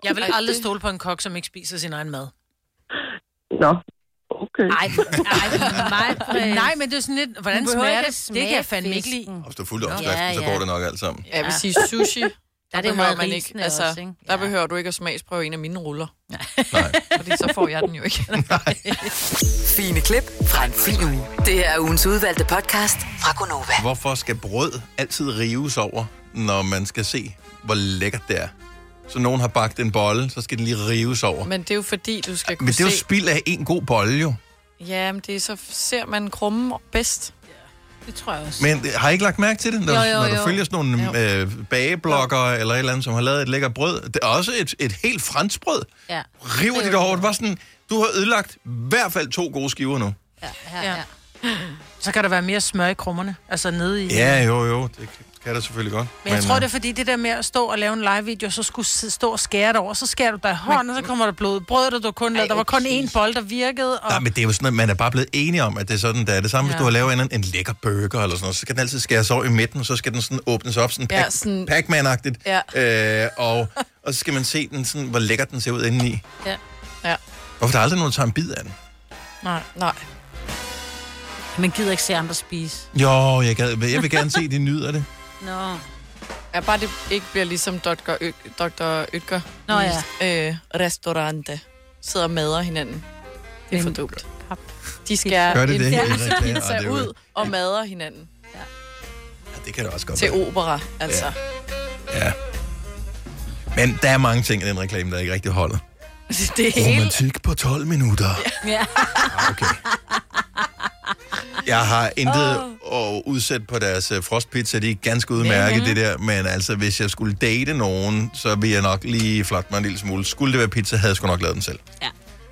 [SPEAKER 2] Jeg vil aldrig stole på en kok, som ikke spiser sin egen mad.
[SPEAKER 22] Nå, okay.
[SPEAKER 2] Nej, nej,
[SPEAKER 3] Preben.
[SPEAKER 2] nej, men det er sådan lidt, hvordan
[SPEAKER 3] Du behøver
[SPEAKER 2] smager
[SPEAKER 3] ikke
[SPEAKER 2] det? Det
[SPEAKER 3] at
[SPEAKER 2] kan
[SPEAKER 3] smage
[SPEAKER 2] jeg fandme ikke lide.
[SPEAKER 1] hvis du er fuldt opskriften, ja,
[SPEAKER 5] Ja,
[SPEAKER 1] så
[SPEAKER 5] ja.
[SPEAKER 1] går det nok alt sammen.
[SPEAKER 5] Ja, jeg vil
[SPEAKER 2] Ja.
[SPEAKER 5] sige sushi. Der,
[SPEAKER 3] er det
[SPEAKER 5] behøver
[SPEAKER 3] med
[SPEAKER 5] man ikke.
[SPEAKER 3] risene
[SPEAKER 5] Altså,
[SPEAKER 3] også, ikke?
[SPEAKER 5] Der behøver du ikke at smagsprøve en af mine ruller. Nej. Fordi så får jeg den jo ikke.
[SPEAKER 4] Fine klip fra en fin uge. Det her er ugens udvalgte podcast fra Gonova.
[SPEAKER 1] Hvorfor skal brød altid rives over, når man skal se, hvor lækkert det er? Så nogen har bagt en bolle, så skal den lige rives over.
[SPEAKER 5] Men det er jo fordi, du skal kunne
[SPEAKER 1] Men det er jo
[SPEAKER 5] se...
[SPEAKER 1] spild af en god bolle, jo.
[SPEAKER 5] Ja, men det er, så ser man krummen bedst.
[SPEAKER 2] Det tror jeg også.
[SPEAKER 1] Men har I ikke lagt mærke til det, når,
[SPEAKER 5] Jo, jo,
[SPEAKER 1] når du
[SPEAKER 5] jo.
[SPEAKER 1] følger sådan nogle øh, bageblogger eller et eller andet, som har lavet et lækkert brød? Det er også et, et helt fransk brød.
[SPEAKER 3] Ja.
[SPEAKER 1] River de det over? Det var sådan, du har ødelagt i hvert fald to gode skiver nu.
[SPEAKER 2] Ja. Så kan der være mere smør i krummerne, altså nede i...
[SPEAKER 1] Ja, jo, jo, det kan der selvfølgelig godt.
[SPEAKER 2] Men jeg tror,
[SPEAKER 1] øh,
[SPEAKER 2] det er fordi det der med at stå og lave en live-video, så skulle sidde- stå og skære det over, så skærer du dig i hånden, og så kommer der blod. Brødet, og du kun lavede, der var kun én bold, der virkede, og...
[SPEAKER 1] Nej, men det er jo sådan, at man er bare blevet enige om, at det er sådan, der er det samme, ja.
[SPEAKER 2] Ja.
[SPEAKER 1] hvis du har lavet en, en lækker burger eller sådan noget, så skal den altid skæres over i midten, og så skal den sådan åbnes op, sådan,
[SPEAKER 5] Ja,
[SPEAKER 1] pac,
[SPEAKER 5] sådan-
[SPEAKER 1] Pac-Man-agtigt, ja. øh, og, og så skal man se den sådan, hvor lækker den ser ud indeni.
[SPEAKER 5] Ja. ja.
[SPEAKER 1] Hvorfor er der aldrig nogen, der tager en bid af den?
[SPEAKER 5] Nej. Nej.
[SPEAKER 3] Man gider ikke se andre spise.
[SPEAKER 1] Jo, jeg, gad, jeg vil gerne se, at de nyder det.
[SPEAKER 3] Nå.
[SPEAKER 5] Ja, bare det ikke bliver ligesom Dr. Ø- Dr. Ytger.
[SPEAKER 3] Nå ja.
[SPEAKER 5] Øh, restaurante. Sidder og mader hinanden. Det er for dumt. De skærer
[SPEAKER 1] Gør det
[SPEAKER 5] en
[SPEAKER 1] det? Ja,
[SPEAKER 5] pølse
[SPEAKER 1] det er-
[SPEAKER 5] pizza
[SPEAKER 1] og det er jo-
[SPEAKER 5] ud og mader hinanden.
[SPEAKER 1] Ja, det kan det også godt
[SPEAKER 5] Til
[SPEAKER 1] være.
[SPEAKER 5] opera, altså.
[SPEAKER 1] Men der er mange ting i den reklame, der ikke rigtig holder.
[SPEAKER 5] Det hele.
[SPEAKER 1] Romantik på 12 minutter.
[SPEAKER 3] Ja.
[SPEAKER 1] Jeg har intet at udsætte på deres øh, frostpizza. De er ganske udmærket,
[SPEAKER 3] Mhm.
[SPEAKER 1] mm-hmm. det der. Men altså, hvis jeg skulle date nogen, så ville jeg nok lige flotte mig en lille smule. Skulle det være pizza, havde jeg sgu nok lavet den selv.
[SPEAKER 5] Ja.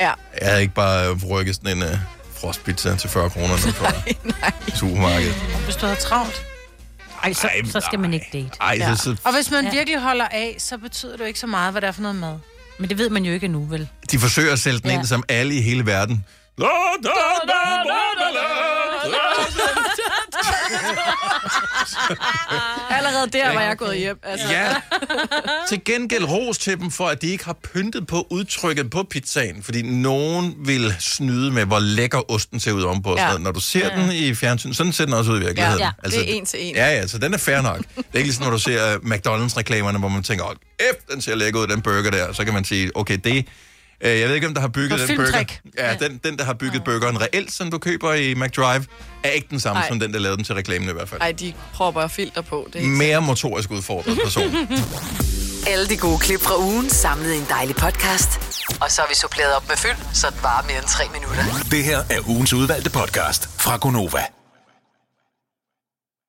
[SPEAKER 1] Jeg havde ikke bare øh, rykket sådan en uh, frostpizza til 40 kroner nu fra supermarkedet.
[SPEAKER 2] Hvis du har travlt.
[SPEAKER 3] Ej, så,
[SPEAKER 1] Ej,
[SPEAKER 3] så skal man ikke date.
[SPEAKER 1] Ej, så- så-
[SPEAKER 2] Og hvis man virkelig holder af, så betyder det jo ikke så meget, hvad det er for noget mad.
[SPEAKER 3] Men det ved man jo ikke nu, vel?
[SPEAKER 1] De forsøger at sælge den ja. ind som alle i hele verden. La, da, da, da, da, da,
[SPEAKER 5] Allerede der var jeg gået hjem. Altså.
[SPEAKER 1] Ja. Til gengæld ros til dem for, at de ikke har pyntet på udtrykket på pizzaen, fordi nogen vil snyde med, hvor lækker osten ser ud ovenpå.
[SPEAKER 5] Ja.
[SPEAKER 1] Ja. Når du ser
[SPEAKER 5] Ja.
[SPEAKER 1] ja. den i fjernsyn, sådan ser den også ud i virkeligheden. Altså,
[SPEAKER 5] Ja, det er en til en.
[SPEAKER 1] Ja, ja, så den er fair nok. Det er ikke ligesom, når du ser uh, McDonald's-reklamerne, hvor man tænker, åh, F, den ser lækker ud, den burger der. Så kan man sige, okay, det... Øh, jeg ved ikke, om der har bygget
[SPEAKER 2] Det var
[SPEAKER 1] den burger.
[SPEAKER 2] filmtrick.
[SPEAKER 1] Ja, den, den, der har bygget burgeren reelt, som du køber i McDrive, er ikke den samme
[SPEAKER 5] Ej.
[SPEAKER 1] Ej. som den, der lavede den til reklamen i hvert fald.
[SPEAKER 5] Ej, de propper filter på. Det er ikke
[SPEAKER 1] Mere motorisk udfordret person.
[SPEAKER 4] Alle de gode klip fra ugen samlet i en dejlig podcast. Og så har vi suppleret op med fyld, så det varer mere end tre minutter.
[SPEAKER 6] Det her er ugens udvalgte podcast fra Gonova.